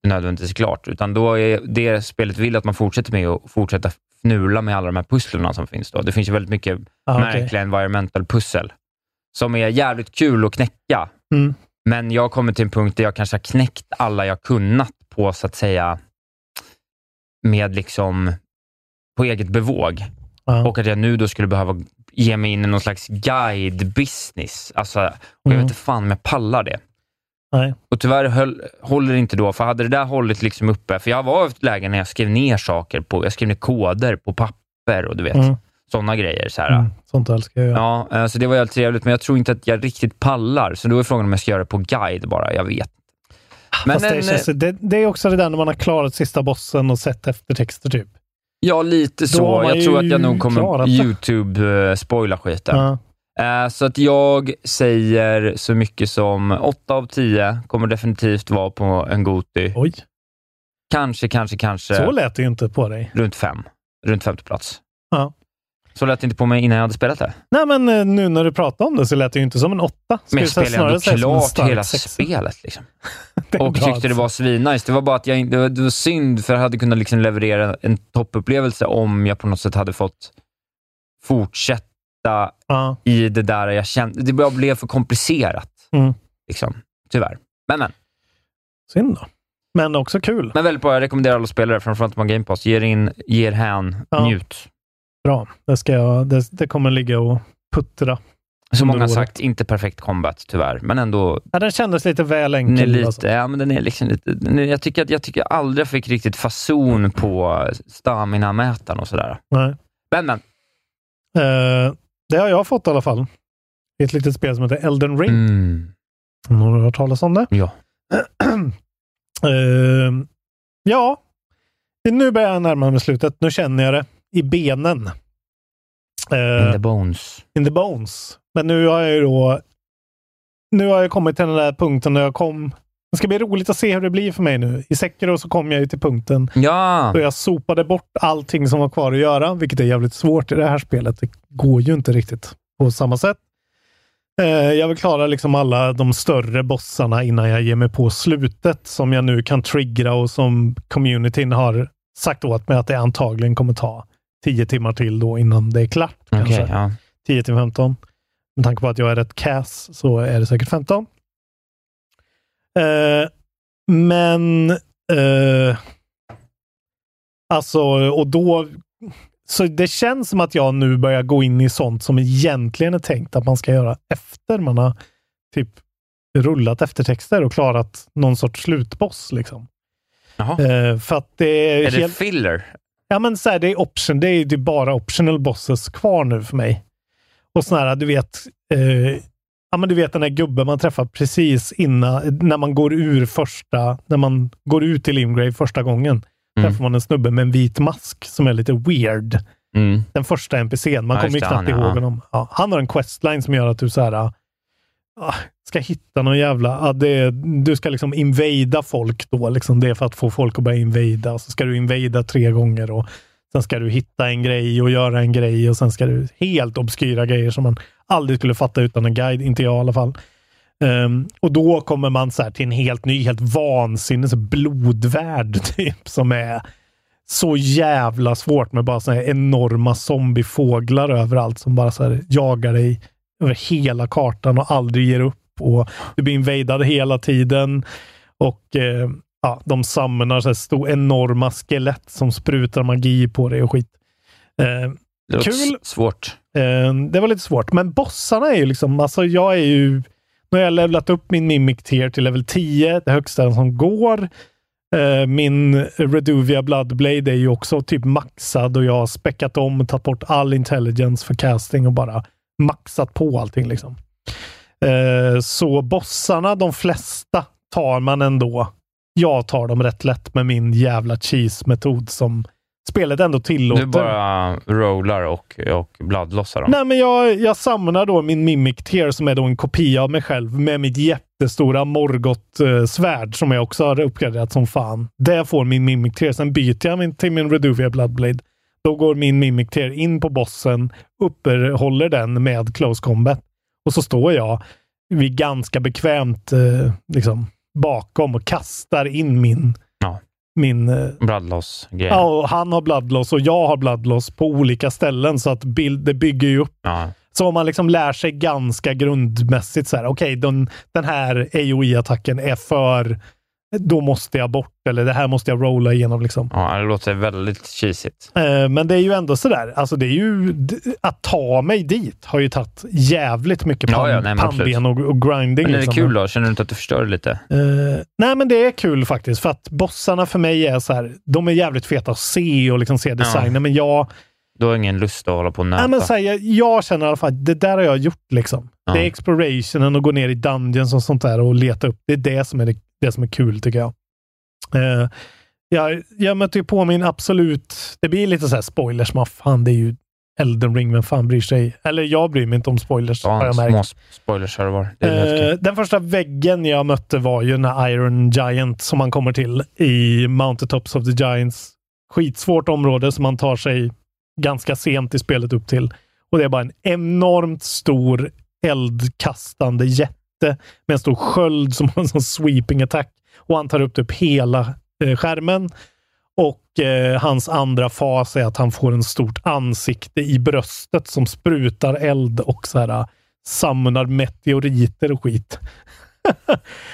det nödvändigtvis är klart, utan då är det spelet vill att man fortsätter med att fortsätta fnula med alla de här pusslerna som finns. Då. Det finns ju väldigt mycket
Ja, Ah, okej.
märkliga environmental pussel som är jävligt kul att knäcka.
Mm.
Men jag kommer till en punkt där jag kanske har knäckt alla jag kunnat på, så att säga, med liksom på eget bevåg.
Ja.
Och att jag nu då skulle behöva ge mig in i någon slags guide-business. Alltså, och jag
Mm.
vet inte fan om jag pallar det.
Nej. mm,
Och tyvärr höll, håller det inte då, för hade det där hållit liksom uppe, för jag var i ett läge när jag skrev ner saker, på, jag skrev ner koder på papper och du vet,
Mm.
sådana grejer. Så här.
Mm. Sånt älskar jag.
Ja, eh, så det var jävligt trevligt, men jag tror inte att jag riktigt pallar, så då är frågan om jag ska göra det på guide bara. Jag vet. Men eh,
Fast det,
en,
känns, det, det är också det där när man har klarat sista bossen och sett eftertexter, typ.
Ja, lite
har
så.
man
Jag
ju
tror att jag nog
klarat
kommer
det.
YouTube-spoila skiten.
Ja.
Eh, Så att jag säger så mycket som 8 av 10 kommer definitivt vara på en Goti.
Oj,
Kanske, kanske, kanske
så lät det ju inte på dig.
runt 5. Runt femte plats.
Ja.
Så lät det inte på mig innan jag hade spelat det.
Nej, men eh, nu när du pratar om det så lät det ju inte som en åtta.
Men
Skulle
jag
säga
spelade ändå
snarare säga som en
klart
stark
hela
sexa.
spelet. Liksom.
<laughs> Det är
Och
bra,
tyckte det var svinnice. Det var bara att jag, in- det, var, det var synd, för jag hade kunnat liksom leverera en toppupplevelse om jag på något sätt hade fått fortsätta hitta i det där jag kände. Det bara blev för komplicerat.
Mm.
Liksom. Tyvärr. Men, men.
Synd då. Men också kul.
Men väldigt bra. Jag rekommenderar alla spelare, framförallt om man har Game Pass. Ger in, ger hän,
Ja.
njut.
Bra. Det, ska jag, det, det kommer ligga och puttra.
Som
under
många har
året.
sagt, inte perfekt combat tyvärr, men ändå
Ja, den kändes lite väl
Den är
enkel.
lite,
alltså.
ja, men den är liksom lite, den är, jag, tycker att, jag tycker jag aldrig fick riktigt fason på stamina-mätaren och sådär.
Nej.
Men, men.
Eh, det har jag fått i alla fall. Det är ett litet spel som heter Elden Ring.
Mm.
Om någon har hört talas om det.
Ja.
<clears throat> Eh, ja, nu börjar jag närma mig slutet. Nu känner jag det i benen. Eh,
In the bones.
in the bones. Men nu har jag ju då... Nu har jag kommit till den där punkten där jag kom... Det ska bli roligt att se hur det blir för mig nu. I Sekiro så kom jag ju till punkten
Ja!
då jag sopade bort allting som var kvar att göra, vilket är jävligt svårt i det här spelet. Det går ju inte riktigt på samma sätt. Eh, Jag vill klara liksom alla de större bossarna innan jag ger mig på slutet som jag nu kan triggra och som communityn har sagt åt mig att det antagligen kommer ta tio timmar till då innan det är klart.
Okej,
kanske.
ja.
10 till 15. Med tanke på att jag är rätt kass så är det säkert 15. Eh, men eh, alltså, och då så det känns som att jag nu börjar gå in i sånt som egentligen är tänkt att man ska göra efter man har typ rullat eftertexter och klarat någon sorts slutboss. Liksom.
Jaha.
Eh, för att det är,
Är det
helt-
filler?
Ja, men så här, det är option. Det är ju det är bara optional bosses kvar nu för mig. Och såna här, du vet, eh, ja, men du vet den här gubben man träffar precis innan, när man går ur första, när man går ut till Limgrave första gången. Träffar man en snubbe med en vit mask som är lite weird.
Mm.
Den första NPCn. Man
Ja,
kommer ju
just det,
knappt
han, ja.
ihåg honom. Ja, han har en questline som gör att du så här, ah, ska hitta någon jävla... ja, det, du ska liksom invada folk då. Liksom det är för att få folk att börja invada. Så ska du invada tre gånger. Och sen ska du hitta en grej och göra en grej. Och sen ska du... Helt obskyra grejer som man aldrig skulle fatta utan en guide. Inte jag i alla fall. Ehm, och då kommer man så här till en helt ny, helt vansinnig så blodvärld <laughs> typ, som är så jävla svårt med bara så här enorma zombiefåglar överallt som bara så här jagar dig över hela kartan och aldrig ger upp. Och du blir invadad hela tiden. Och eh, ja, de samlar så här stor, enorma skelett som sprutar magi på dig och skit. Eh,
Det låter
Kul.
s- svårt.
Eh, Det var lite svårt, men bossarna är ju liksom, alltså jag är ju, nu har jag levlat upp min Mimic tier till level 10, det högsta som går. Eh, Min Reduvia Bloodblade är ju också typ maxad och jag har späckat om och tagit bort all intelligence för casting och bara maxat på allting liksom. Eh, Så bossarna, de flesta, tar man ändå. Jag tar dem rätt lätt med min jävla cheese-metod som spelet ändå tillåter.
Du bara rollar och, och bloodlossar dem.
Nej, men jag, jag samlar då min Mimic Tear som är då en kopia av mig själv med mitt jättestora Morgoth-svärd som jag också har uppgraderat som fan. Där får min Mimic Tear. Sen byter jag min, till min Reduvia Bloodblade. Då går min Mimic Tear in på bossen, uppehåller den med Close Combat. Och så står jag vid ganska bekvämt eh, liksom, bakom och kastar in min,
Ja.
min eh,
Bloodloss-grej.
Ja, och han har bloodloss och jag har bloodloss på olika ställen så att bild, det bygger ju upp.
Ja.
Så om man liksom lär sig ganska grundmässigt så här, okej, den, den här AOE-attacken är för, då måste jag bort eller det här måste jag rolla igenom liksom.
Ja, det låter väldigt cheesigt.
Eh, Men det är ju ändå sådär, alltså det är ju, d- att ta mig dit har ju tagit jävligt mycket
Ja,
pan,
ja, nej, men absolut.
pannben och, och grinding.
Men är det
liksom.
kul då? Känner du inte att du förstör det lite?
Eh, nej, men det är kul faktiskt. För att bossarna för mig är så här, de är jävligt feta att se och liksom se designen. Men jag,
Du har ingen lust att hålla på och nöta?
nej, men så här, jag, jag känner i alla fall att det där har jag gjort. liksom.
Ja.
Det är explorationen och gå ner i dungeons och sånt där och leta upp. Det är det som är, det, det som är kul tycker jag. Eh, jag. Jag mötte ju på min absolut... Det blir lite så här spoilers, men fan det är ju Elden ring, vem fan bryr sig? Eller jag bryr mig inte om spoilers har
ja,
jag märkt.
små spoilers här och var. Det är helt
Eh,
okej.
den första väggen jag mötte var ju den här Iron Giant som man kommer till i Mountaintops of the Giants. Skitsvårt område som man tar sig ganska sent i spelet upp till. Och det är bara en enormt stor eldkastande jätte med en stor sköld som har en sån sweeping attack. Och han tar upp typ hela eh, skärmen. Och Och eh, hans andra fas är att han får en stort ansikte i bröstet som sprutar eld och så här, eh, samlar meteoriter och skit.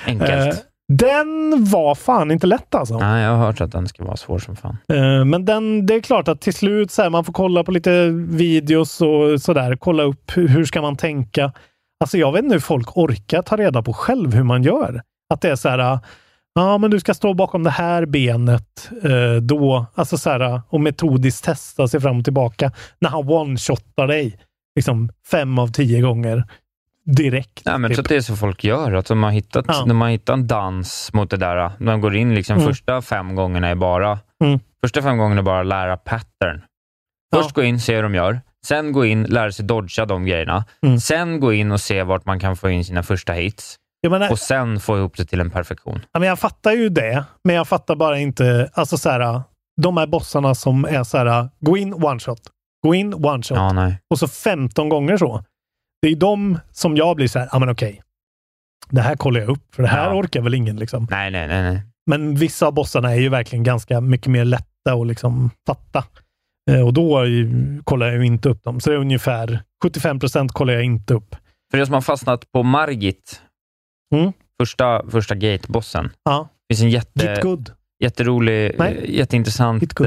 Enkelt.
Eh, den var fan inte lätt alltså.
Nej, jag har hört att den ska vara svår som fan.
Eh, Men den, det är klart att till slut så här, man får kolla på lite videos och sådär. Kolla upp hur, hur ska man tänka. Alltså jag vet inte hur folk orkar ta reda på själv hur man gör. Att det är så här, ah, ja men du ska stå bakom det här benet eh, då. Alltså så här, och metodiskt testa sig fram och tillbaka. När han one-shotar dig liksom fem av tio gånger direkt. typ.
Nej, men så att det är så folk gör. Att de har hittat,
Ja.
När man hittar en dans mot det där, när man går in liksom
Mm.
första fem gångerna är bara
Mm.
Första fem gångerna är bara att lära pattern. Först gå in, se hur de gör. Sen gå in, lära sig dodga de grejerna.
Mm.
Sen gå in och se vart man kan få in sina första hits.
Jag menar-
och sen få ihop det till en perfektion.
Ja, men jag fattar ju det, men jag fattar bara inte. Alltså så här, de här bossarna som är så här, gå in one shot, gå in one shot.
Ja, nej.
Och så 15 gånger så. Det är ju de som jag blir så här, ja men okej. Det här kollar jag upp, för det här orkar väl ingen liksom.
Nej, nej, nej. nej.
Men vissa av bossarna är ju verkligen ganska mycket mer lätta att liksom fatta. Eh, Och då är ju, kollar jag ju inte upp dem. Så det är ungefär 75 procent kollar jag inte upp.
För det som har fastnat på Margit, första, första gate-bossen.
Mm. Ja.
Det finns en jätte,
Git good.
jätterolig,
Nej.
eh, jätteintressant eh,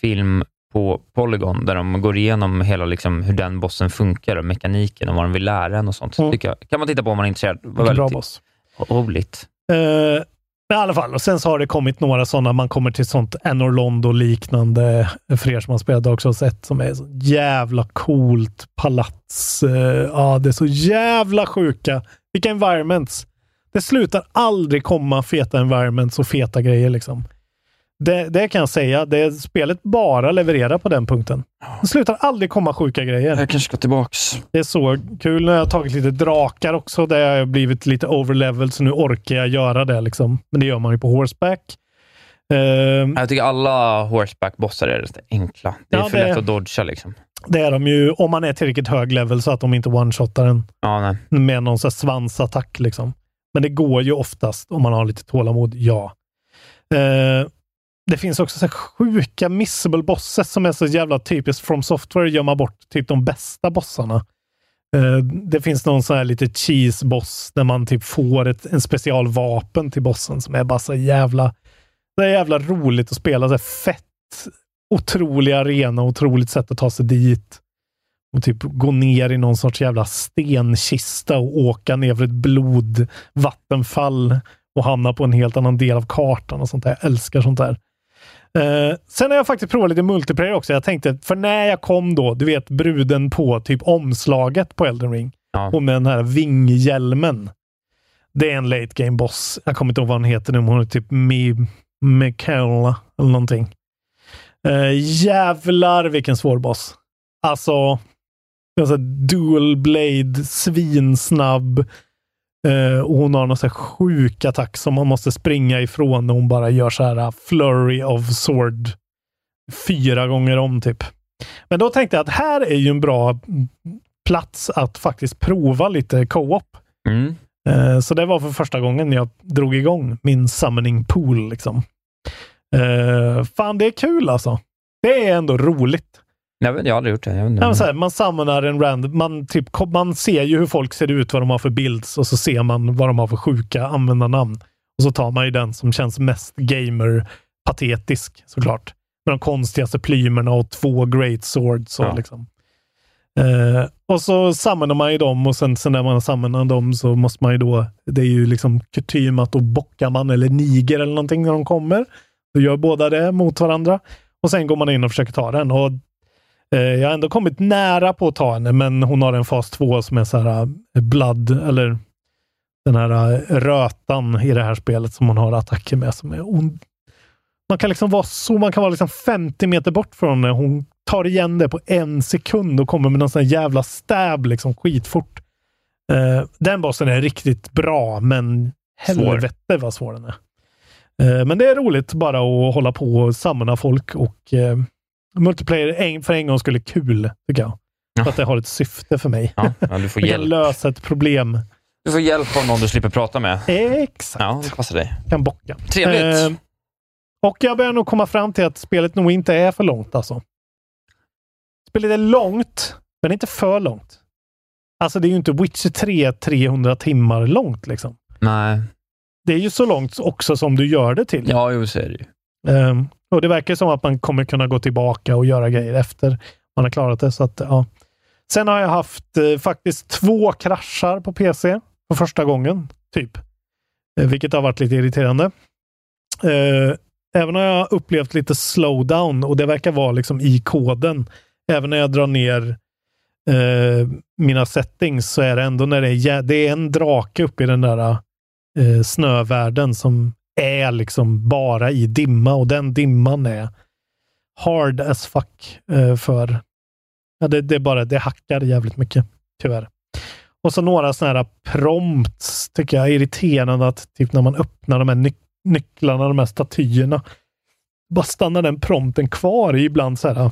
film på Polygon där de går igenom hela liksom, hur den bossen funkar och mekaniken och vad den vill lära en och sånt. Tycker jag. kan man titta på om man är intresserad. Det var
Mm. Vilken bra
väldigt
boss.
Roligt.
Eh, men I alla fall, och sen så har det kommit några sådana. Man kommer till sånt Anorlondo liknande för er som har spelat Dark Souls 1 som är så jävla coolt palats. Eh, ja, det är så jävla sjuka. Vilka environments. Det slutar aldrig komma feta environments och feta grejer liksom. Det, det kan jag säga. Det spelet bara levererar på den punkten. Det slutar aldrig komma sjuka grejer.
Jag kanske ska tillbaks.
Det är så kul. Nu har jag tagit lite drakar också. Där jag har blivit lite overleveled, så nu orkar jag göra det. Liksom. Men det gör man ju på horseback. Ehm,
Jag tycker alla horseback-bossar är rätt enkla. Det är
Ja,
för
det-
lätt att dodga liksom.
det är de ju om man är tillräckligt hög level så att de inte one-shotar en
Ja, nej.
<laughs> med någon så här svansattack. Liksom. Men det går ju oftast om man har lite tålamod, ja. Eh, det finns också så här sjuka missable bosses som är så jävla typiskt. From Software gömma bort typ de bästa bossarna. Eh, det finns någon sån här lite cheese-boss där man typ får ett, en specialvapen till bossen som är bara så jävla... Det är jävla roligt att spela. Så här fett, otrolig arena, otroligt sätt att ta sig dit och typ gå ner i någon sorts jävla stenkista och åka ner för ett blodvattenfall och hamna på en helt annan del av kartan och sånt där. Jag älskar sånt där. Eh, sen har jag faktiskt provat lite multiplayer också. Jag tänkte, för när jag kom då, du vet bruden på typ omslaget på Elden Ring. Och med den här vinghjälmen. Det är en late game boss. Jag kommer inte ihåg vad hon heter nu, men hon är typ Mi- Michaela eller någonting. Eh, jävlar vilken svår boss. Alltså, det är så här dual blade, svinsnabb. Eh, och hon har någon så här sjuk attack som man måste springa ifrån när hon bara gör så här eh, flurry of sword fyra gånger om typ. Men då tänkte jag att här är ju en bra plats att faktiskt prova lite co-op.
Mm.
Eh, Så det var för första gången jag drog igång min summoning pool. Liksom. Eh, Fan, det är kul alltså. Det är ändå roligt.
Nej, men jag har aldrig gjort det. Jag vet inte.
Ja, men så här, man samlar en random, man, typ, kom- man ser ju hur folk ser ut, vad de har för bilds och så ser man vad de har för sjuka användarnamn. Och så tar man ju den som känns mest gamer-patetisk såklart. Med de konstigaste plymerna och två great swords. Och, liksom. eh, och så samlar man ju dem och sen, sen när man samlar dem så måste man ju då, det är ju liksom kutym att då bockar man eller niger eller någonting när de kommer. Då gör båda det mot varandra. Och sen går man in och försöker ta den. Och Eh, Jag har ändå kommit nära på att ta henne, men hon har en fas 2 som är så här eh, blood, eller den här eh, rötan i det här spelet som hon har attacker med. Som är ond. Man kan liksom vara så, man kan vara liksom 50 meter bort från henne. Hon tar igen det på en sekund och kommer med någon sån här jävla stab liksom skitfort. Eh, Den bossen är riktigt bra, men
Svår.
helvete vad svår den är. Eh, Men det är roligt bara att hålla på och samla folk och eh, multiplayer en- för en gång skulle kul, tycker jag. För att det har ett syfte för mig.
Ja, ja, du får
Jag kan
hjälp.
lösa ett problem.
Du får hjälp av någon du slipper prata med.
Exakt.
Ja, det passar dig.
Kan bocka.
Trevligt.
Eh, Och jag börjar nog komma fram till att spelet nog inte är för långt alltså. Spelet är långt, men inte för långt. Alltså det är ju inte Witcher 3 300 timmar långt liksom.
Nej.
Det är ju så långt också som du gör det till.
Ja, jo, så är det ju.
Ehm, och det verkar som att man kommer kunna gå tillbaka och göra grejer efter man har klarat det. Så att, ja. Sen har jag haft eh, faktiskt två kraschar på PC för första gången, typ. Eh, vilket har varit lite irriterande. Eh, även har jag upplevt lite slowdown och det verkar vara liksom i koden. Även när jag drar ner eh, mina settings så är det ändå när det är, jä- det är en drake uppe i den där eh, snövärlden som är liksom bara i dimma och den dimman är hard as fuck eh, för ja, det, det är bara det hackar jävligt mycket tyvärr. Och så några sådana här prompts tycker jag är irriterande att typ när man öppnar de här nyc- nycklarna, de här statyerna, bara stannar den prompten kvar i ibland så här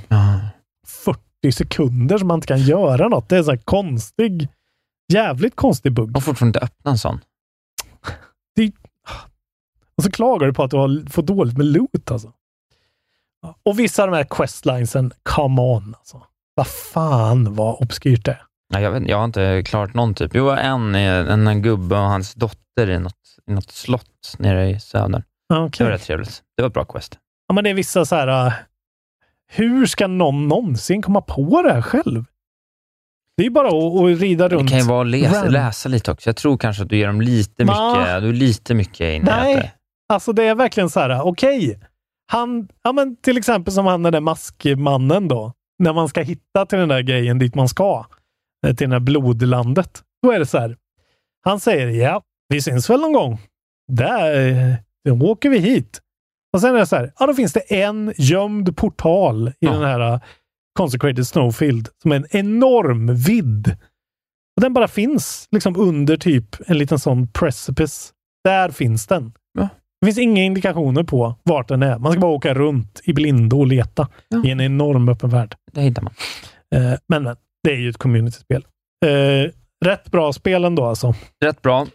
40 sekunder som man inte kan göra något. Det är så här konstig, jävligt konstig bugg.
Jag har fortfarande inte öppnat en sån.
Det, och så klagar du på att du har fått dåligt med loot alltså. Ja, Och vissa av de här questlinesen, come on alltså. Vad fan vad obskyrt det är.
Nej, jag, vet, jag har inte klarat någon typ. Jo, en, är- en, en gubbe och hans dotter i något, i något slott nere i södern.
Ja,
Det
okej.
var rätt trevligt. Det var ett bra quest.
Ja, men det är vissa så här, äh, hur ska någon någonsin komma på det här själv? Det är ju bara att, att rida runt.
Det kan ju vara att läsa,
Ran-
läsa lite också. Jag tror kanske att du ger dem lite
Ma.
mycket, du är lite mycket in i
Nej,
det.
alltså det är verkligen så här, okej. Han, ja men till exempel som han den där maskmannen då. När man ska hitta till den där grejen dit man ska. eh, Till det där blodlandet. Då är det så här. Han säger, ja, vi syns väl någon gång. Där, eh, då åker vi hit. Och sen är det så här, ja då finns det en gömd portal i den här eh, Consecrated Snowfield som är en enorm vidd. Och den bara finns liksom under typ en liten sån precipice. Där finns den. Det finns inga indikationer på vart den är. Man ska bara åka runt i blindo och leta i en enorm öppen värld.
Det hittar man.
Eh, men, men, det är ju ett communityspel. Eh, rätt bra spel ändå alltså.
Rätt bra.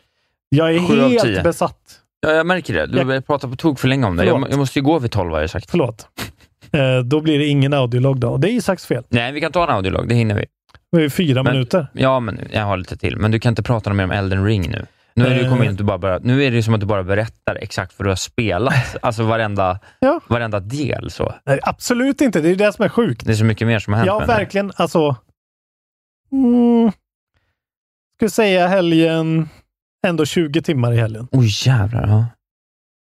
Jag är
Sju av tio.
helt besatt.
Ja, jag märker det. Du
Jag-
jag... pratar på tok för länge om det. Jag,
Förlåt.
jag måste ju gå vid tolv, har jag sagt.
Förlåt. Eh, då blir det ingen audiolog då. Och det är Isaks fel.
Nej, vi kan ta en audiolog. Det hinner vi.
Det är ju fyra
Men-
minuter.
Ja, men jag har lite till. Men du kan inte prata mer om Elden Ring nu. Nu är, det ju
Eh.
kommit in att du bara bara, nu är det ju som att du bara berättar exakt vad du har
<laughs>
spelat. Alltså varenda, varenda del. så.
Nej, absolut inte. Det är det som är sjukt.
Det är så mycket mer som har hänt.
Ja,
med det.
verkligen. Alltså... Mm, skulle säga helgen... Ändå 20 timmar i helgen.
Oj, jävlar. Ja.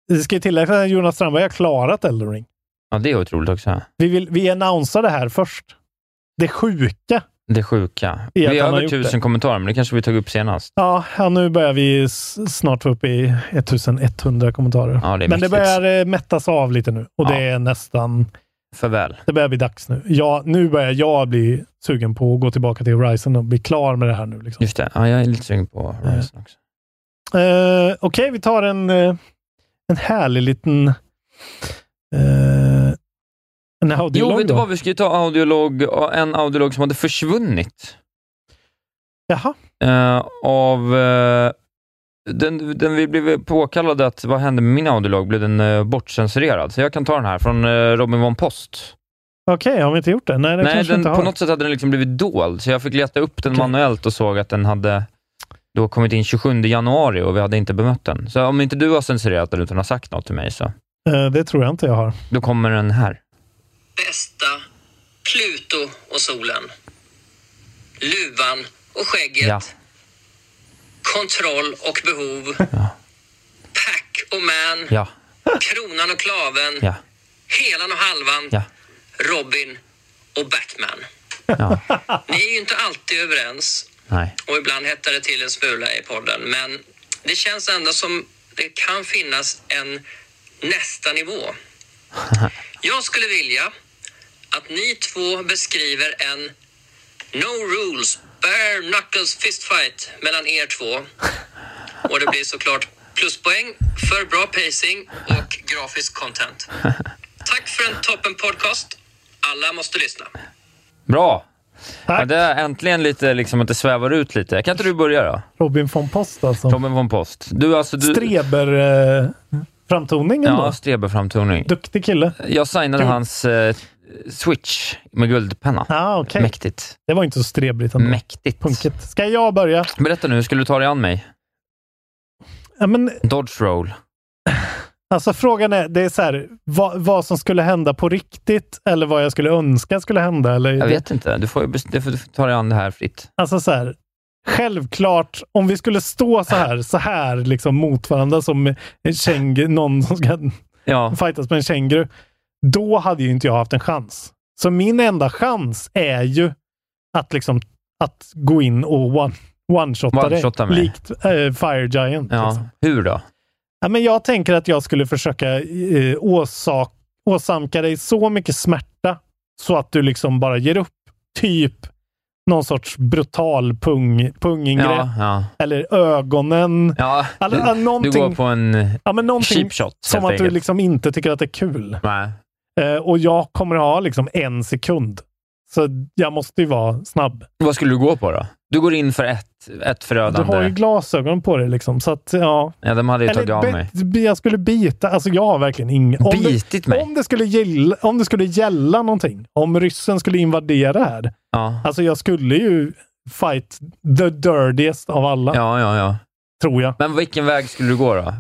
Det ska ju tilläggas att Jonas Strandberg har klarat Elden Ring.
ja, det är otroligt också.
Vi, vill, vi annonsar det här först. Det sjuka.
Det sjuka.
I att
vi har
han har
över
gjort
tusen
det.
kommentarer, men det kanske vi tog upp senast.
Ja, ja, nu börjar vi s- snart vara uppe i 1100 kommentarer.
Ja, det är
Men det
mäktigt.
börjar eh, mättas av lite nu och det är nästan...
Farväl.
Det börjar bli dags nu. Ja, nu börjar jag bli sugen på att gå tillbaka till Horizon och bli klar med det här nu. Liksom.
Just det. Ja, jag är lite sugen på Horizon också.
Eh, Okej, vi tar en, eh, en härlig liten... eh, en audiolog
Jo, vet du
då.
vad? Vi ska ju ta audiolog, och en audiolog som hade försvunnit.
Jaha.
Eh, av... eh, den, den vi blev påkallade att vad hände med min audiolog? Blev den eh, bortcensurerad? Så jag kan ta den här från eh, Robin von Post.
Okej, har vi inte gjort det? Nej, det
Nej,
kanske vi
den,
inte
på
har.
något sätt hade den liksom blivit dold, så jag fick leta upp den manuellt och såg att den hade då kommit in 27 januari och vi hade inte bemött den. Så om inte du har censurerat den utan har sagt något till mig, så
Eh, det tror jag inte jag har.
då kommer den här.
bästa, Pluto och solen. Luvan och skägget.
Ja.
Kontroll och behov. Pack och man.
Ja.
Kronan och klaven.
Ja.
Helan och halvan.
Ja.
Robin och Batman.
Ja.
Ni är ju inte alltid överens
Nej.
och ibland hettar det till en smula i podden. Men det känns ändå som det kan finnas en nästa nivå. Jag skulle vilja att ni två beskriver en No Rules Bare Knuckles Fistfight mellan er två. Och det blir såklart pluspoäng för bra pacing och grafisk content. Tack för en toppen podcast. Alla måste lyssna.
Bra! Ja, det är äntligen lite liksom att det svävar ut lite. Kan inte du börja då?
Robin von Post alltså.
Robin von Post. Du, alltså, du,
Streber-figuren. Framtoning ändå.
Ja, Strebe-framtoning.
Duktig kille.
Jag signade hans eh, Switch med guldpenna.
Ah, okay.
Mäktigt.
Det var inte så strebligt ändå.
Mäktigt.
Punket. Ska jag börja?
Berätta nu, hur skulle du ta dig an mig?
Ja, men,
Dodge roll.
alltså frågan är, det är så här, vad, vad som skulle hända på riktigt eller vad jag skulle önska skulle hända. Eller,
Jag vet inte. Du får, ju bes- du får du får ta dig an det här fritt.
Alltså så här, självklart, om vi skulle stå så här, så här liksom mot varandra som en käng, någon som ska
ja.
fightas med en känguru, då hade ju inte jag haft en chans. Så min enda chans är ju att liksom att gå in och one, one-shotta
One-shotta
dig,
mig.
likt eh, Fire Giant.
Ja.
Liksom.
Hur då?
Ja, men jag tänker att jag skulle försöka eh, åsak, åsamka dig så mycket smärta så att du liksom bara ger upp. Typ någon sorts brutal pung, pungingrepp.
Ja, ja.
Eller ögonen.
Ja,
Eller,
du-
ja,
Du
någonting,
går på en
ja, men någonting
cheap shot,
som
helt
att du
enkelt.
liksom inte tycker att det är kul.
Nej.
Eh, och jag kommer ha liksom en sekund. Så jag måste ju vara snabb.
Vad skulle du gå på då? Du går in för ett, ett
Du
förödande.
har ju glasögon på dig liksom. Så att, ja.
Ja, de hade ju tagit av
bet-
mig.
bi- Jag skulle bita. Alltså jag har verkligen ingen... Om
Bitit
det,
mig?
Om det, skulle gälla, om det skulle gälla någonting. Om ryssen skulle invadera här.
Ja.
Alltså jag skulle ju fight the dirtiest av alla.
Ja, ja, ja.
Tror jag.
Men vilken väg skulle du gå då?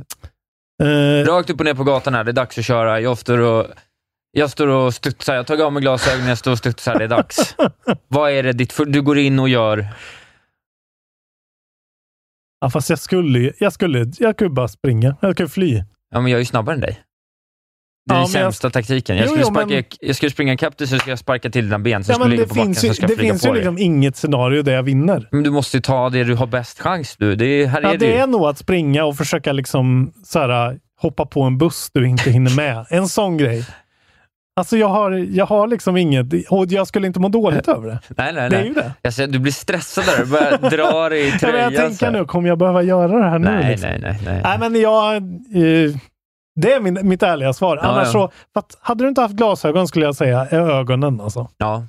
Eh,
Rakt upp och ner på gatan här, det är dags att köra. Jag står och, jag står och studsar. Jag tar av mig glasögonen, jag står och studsar. Det är
<laughs>
dags. Vad är det ditt... För, du går in och gör...
ja, fast jag skulle ju... Jag skulle, jag skulle bara springa. Jag skulle fly.
Ja, men jag är ju snabbare än dig. Det är
Ja,
den
men jag-
sämsta taktiken. Jag
Jo,
skulle,
jo,
sparka,
men-
jag skulle springa ikapp dig, så ska jag sparka till dina ben, så
Ja,
ska du
men
ligga
det
på backen,
finns ju,
så ska
det
jag flyga
finns ju
på dig.
liksom inget scenario där jag vinner.
Men du måste ju ta det du har bäst chans. Du. Det är, här
Ja,
är du.
det är nog att springa och försöka liksom så här, hoppa på en buss du inte
<laughs>
hinner med. En sån grej. Alltså jag har, jag har liksom inget, och jag skulle inte må dåligt över det.
Nej, nej, nej.
Det är ju det.
Jag ser, du blir stressad där. Eh, Du börjar dra dig i
<laughs> Ja, men
tröjan.
jag
så
tänker
här.
nu, kommer jag behöva göra det här nu?
Nej,
liksom?
nej, nej, nej.
Nej, men jag... eh, det är min, mitt ärliga svar.
Ja,
Annars
ja.
så... För att, hade du inte haft glasögon skulle jag säga är ögonen alltså.
Ja,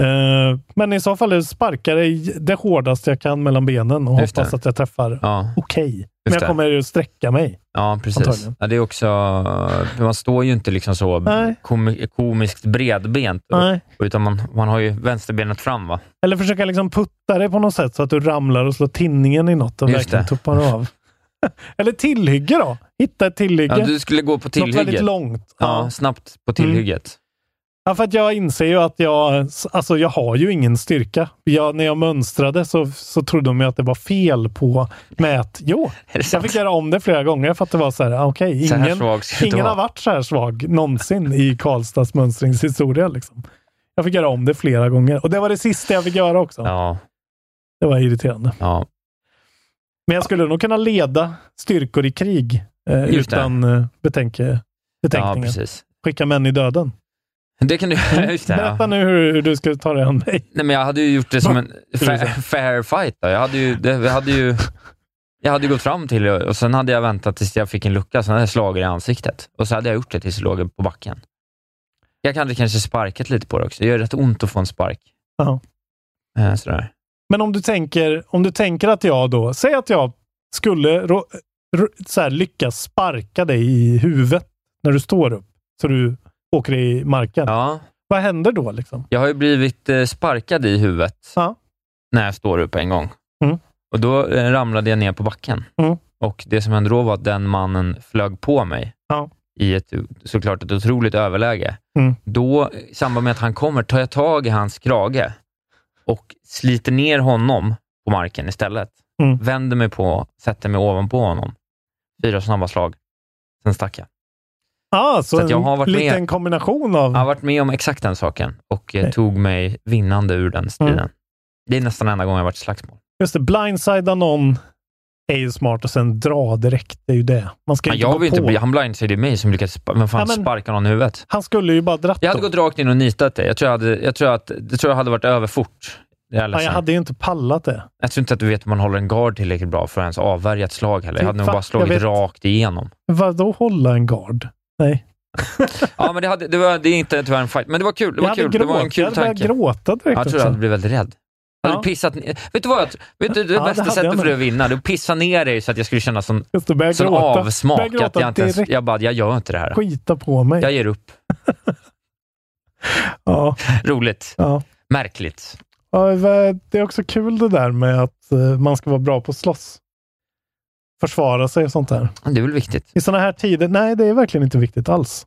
Eh, men i så fall sparkar jag det hårdaste jag kan mellan benen och
Just det.
hoppas att jag träffar
ja,
okej. Men jag
det.
kommer ju sträcka mig.
ja precis.
Antagligen.
Ja, det är också, man står ju inte liksom så
Nej.
komi- komiskt bredbent,
Nej.
utan man, man har ju vänsterbenet fram. Va?
Eller försöka liksom putta dig på något sätt så att du ramlar och slår tinningen i något och
Just
verkligen
det.
tuppar av. <laughs> Eller tillhygge då. Hitta ett tillhygge.
Ja, du skulle gå på
Något väldigt
tillhygget.
långt. Mm.
Ja, snabbt på tillhygget.
Ja, för att jag inser ju att jag, alltså jag har ju ingen styrka. Jag, när jag mönstrade så, så trodde de ju att det var fel på mät. Jo,
<laughs> det
jag
sant?
fick göra om det flera gånger för att det var så här, okej,
Så här
ingen,
svag ska du inte
ingen har
vara.
varit så här svag någonsin i Karlstads mönstringshistoria. Liksom. Jag fick göra om det flera gånger och det var det sista jag fick göra också.
Ja,
Det var irriterande.
ja.
Men jag skulle nog kunna leda styrkor i krig eh,
Just det.
utan eh, betänke,
ja
betänkningen.
precis.
Skicka män i döden.
Det kan du... Just det, <laughs> ja.
Berätta nu hur, hur du skulle ta dig an mig.
Nej, men jag hade ju gjort det som en
Skulle du
fair, fair fight. Då. Jag, hade ju, det, jag, hade ju, jag hade ju gått fram till det och sen hade jag väntat tills jag fick en lucka, sen hade jag slagit i ansiktet. Och så hade jag gjort det tills jag låg på backen. Jag hade kanske sparkat lite på det också. Det gör rätt ont att få en spark.
Ja.
Eh, Sådär.
Men om du tänker, om du tänker att jag då, säg att jag skulle rå, rå, så här, lyckas sparka dig i huvudet när du står upp, så du åker i marken.
Ja,
Vad händer då? liksom?
jag har ju blivit eh, sparkad i huvudet
Ja.
när jag står upp en gång.
Mm.
Och Då eh, ramlade jag ner på backen.
Mm.
Och Det som hände då var att den mannen flög på mig
Ja.
i ett såklart ett otroligt överläge.
Mm.
Då, i samband med att han kommer, tar jag tag i hans krage och sliter ner honom på marken istället.
Mm.
Vänder mig på, sätter mig ovanpå honom. Fyra snabba slag. Sen stack jag.
Ah, så,
Så att jag
en
har varit med-
liten kombination av...
Jag har varit med om exakt den saken och eh,
Okej.
tog mig vinnande ur den striden.
Mm.
Det är nästan enda gången jag har varit i slagsmål.
Just det, blindsida någon är ju smart och sen dra direkt. Det är ju det. Man ska
Men
ju inte
jag
gå
vill inte
på.
bli, han blindsidade mig som lyckades spa- vem fan
Ja, men-
sparka någon i huvudet.
Han skulle ju bara dratt
Jag hade
då.
gått rakt in och nitat dig. Jag tror jag hade, jag tror att, jag tror jag hade varit över fort. Jag, är
Ja, jag
ledsen.
hade ju inte pallat det.
jag tror inte att du vet hur man håller en gard tillräckligt bra för att ens avvärja ett slag heller. Jag hade nog
Fan,
bara
jag
slagit
vet.
rakt igenom.
Vadå hålla en gard? Nej.
Ja, men det, hade, det, var, det är inte tyvärr en fight, men det var kul. Det
jag
var
hade
kul. Det var en
gråtit. Jag
kul
hade börjat
tanke.
gråta direkt
Jag tror jag
också.
hade blivit väldigt rädd. Hade du pissat ner- Vet du vad? Jag, vet du, det
Ja, det
bästa
hade jag
sättet för
med.
dig att vinna, du pissar ner dig så att jag skulle känna sån,
Just det, börja
sån
gråta. Börja
avsmak.
gråta
Att jag, inte ens,
direkt.
jag bara, jag gör inte det här.
Skita på mig.
Jag ger upp.
Ja.
Roligt.
Ja.
Märkligt.
Ja, Det är också kul det där med att eh, man ska vara bra på att slåss. Försvara sig och sånt där.
Det är väl viktigt.
I sådana här tider, nej det är verkligen inte viktigt alls.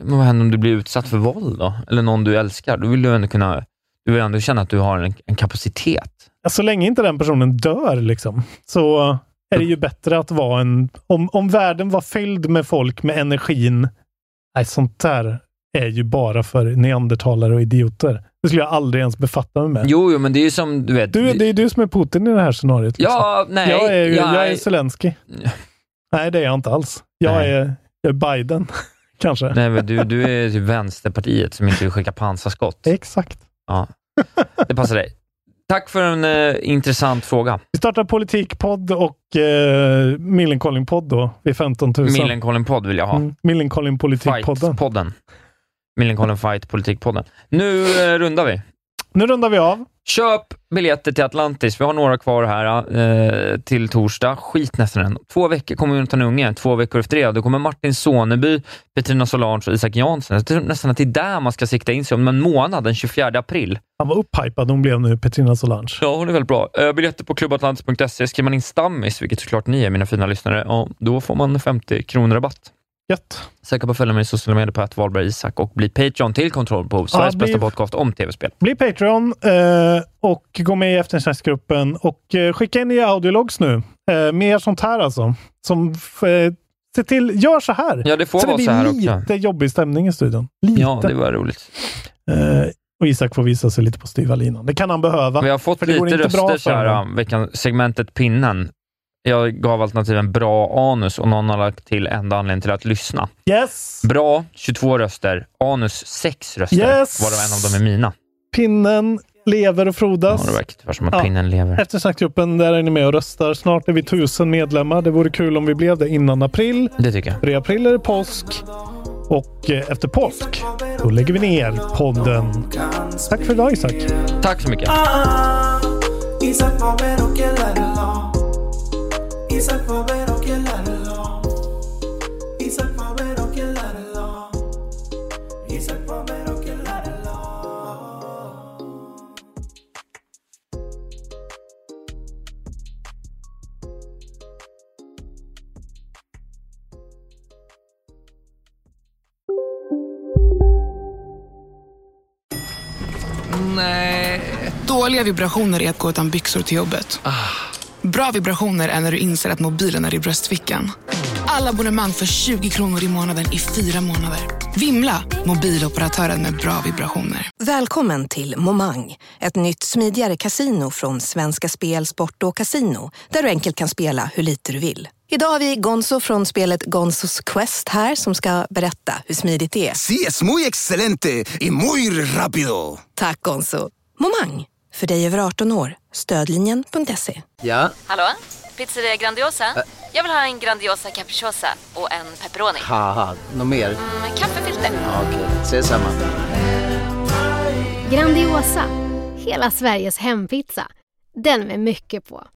Men vad händer om du blir utsatt för våld då? Eller någon du älskar? Då vill du ändå kunna... Du vill ändå känna att du har en, en kapacitet.
Ja, Så länge inte den personen dör liksom, så är det ju bättre att vara en... Om, om världen var fylld med folk med energin... Nej, sånt där är ju bara för neandertalare och idioter. Det skulle jag aldrig ens befatta mig med.
Jo, jo, men det är ju som du vet...
Du, det är du som är Putin i det här scenariot. liksom.
Ja, nej,
Jag är, ju-
jag-
jag
<laughs>
är Zelensky. Nej, det är jag inte alls. Jag, är, jag är Biden, <laughs> kanske.
Nej, men du, du är typ Vänsterpartiet som inte vill skicka pansarskott.
Exakt.
Ja. Det passar dig. Tack för en eh, intressant fråga.
Vi startar politikpodd och eh, Millencolin-podd då, vid 15 000.
Millencolin-podd vill jag ha.
Mm, Millencolin politikpodden.
Fight-podden. Millencolin Fight Politikpodden. Nu eh, rundar vi.
Nu rundar vi av.
Köp biljetter till Atlantis. Vi har några kvar här eh, till torsdag. Skit nästan den. Två veckor kommer Jonathan Unge. Två veckor efter det, då kommer Martin Soneby, Petrina Solange och Isak Jansson. Jag tror nästan att det är där man ska sikta in sig om en månad, den 24 april.
Han var upphypad hon blev nu, Petrina Solange.
Ja, hon är väldigt bra. Eh, Biljetter på klubbatlantis.se. Skriver man in stammis, vilket såklart ni är, mina fina lyssnare, ja, då får man 50 kronor rabatt.
Gött.
Säkert på att följa mig i sociala medier på att Wahlberg Isak och bli Patreon till Kontrollbehov, Sveriges
bli-
bästa podcast om tv-spel.
Bli Patreon eh, och gå med i eftersnacksgruppen och eh, skicka in i audiologs nu. Eh, mer sånt här alltså. Som, f- eh, se till, gör så här.
Ja, det får
så
vara
det
så här
blir lite
också.
jobbig stämning i studion. Lite.
Ja, det var roligt.
Eh, och Isak får visa sig lite på styva linan. Det kan han behöva.
Vi har fått
för det går
lite
inte bra
röster så
för
här,
honom.
um, veckan, segmentet pinnen. Jag gav alternativen bra anus och någon har lagt till enda anledningen till att lyssna.
Yes!
Bra 22 röster, anus 6 röster,
Yes!
varav en av dem är mina.
Pinnen lever och
Ja,
frodas.
det verkar tyvärr som att pinnen lever.
Eftersnacksgruppen, där är ni med och röstar. Snart är vi tusen medlemmar. Det vore kul om vi blev det innan april.
Det tycker jag.
För i april är det påsk. Och eh, efter påsk, då lägger vi ner podden. Tack för idag Isak.
Tack så mycket.
Y se povero que la reloj. Y se povero que la reloj. Y se povero que la reloj. Y se povero que la reloj.
Nej. Dåliga vibrationer är att gå utan byxor till jobbet. Bra vibrationer är när du inser att mobilen är i bröstfickan. Alla abonnemang för 20 kronor i månaden i fyra månader. Vimla! Mobiloperatören med bra vibrationer.
Välkommen till Momang, ett nytt smidigare casino från Svenska Spel, Sport och Casino där du enkelt kan spela hur lite du vill. Idag har vi Gonzo från spelet Gonzos Quest här som ska berätta hur smidigt det är.
Sí, es muy excelente y muy rápido.
Tack Gonzo! Momang, för dig över 18 år. Stödlinjen.se.
Ja,
Hallå? Pizzeria Grandiosa? Jag vill ha en Grandiosa capriciosa och en pepperoni.
haha, något mer?
Med kaffefilter.
Ja, Okej, ses samma.
Grandiosa, hela Sveriges hempizza. Den med mycket på.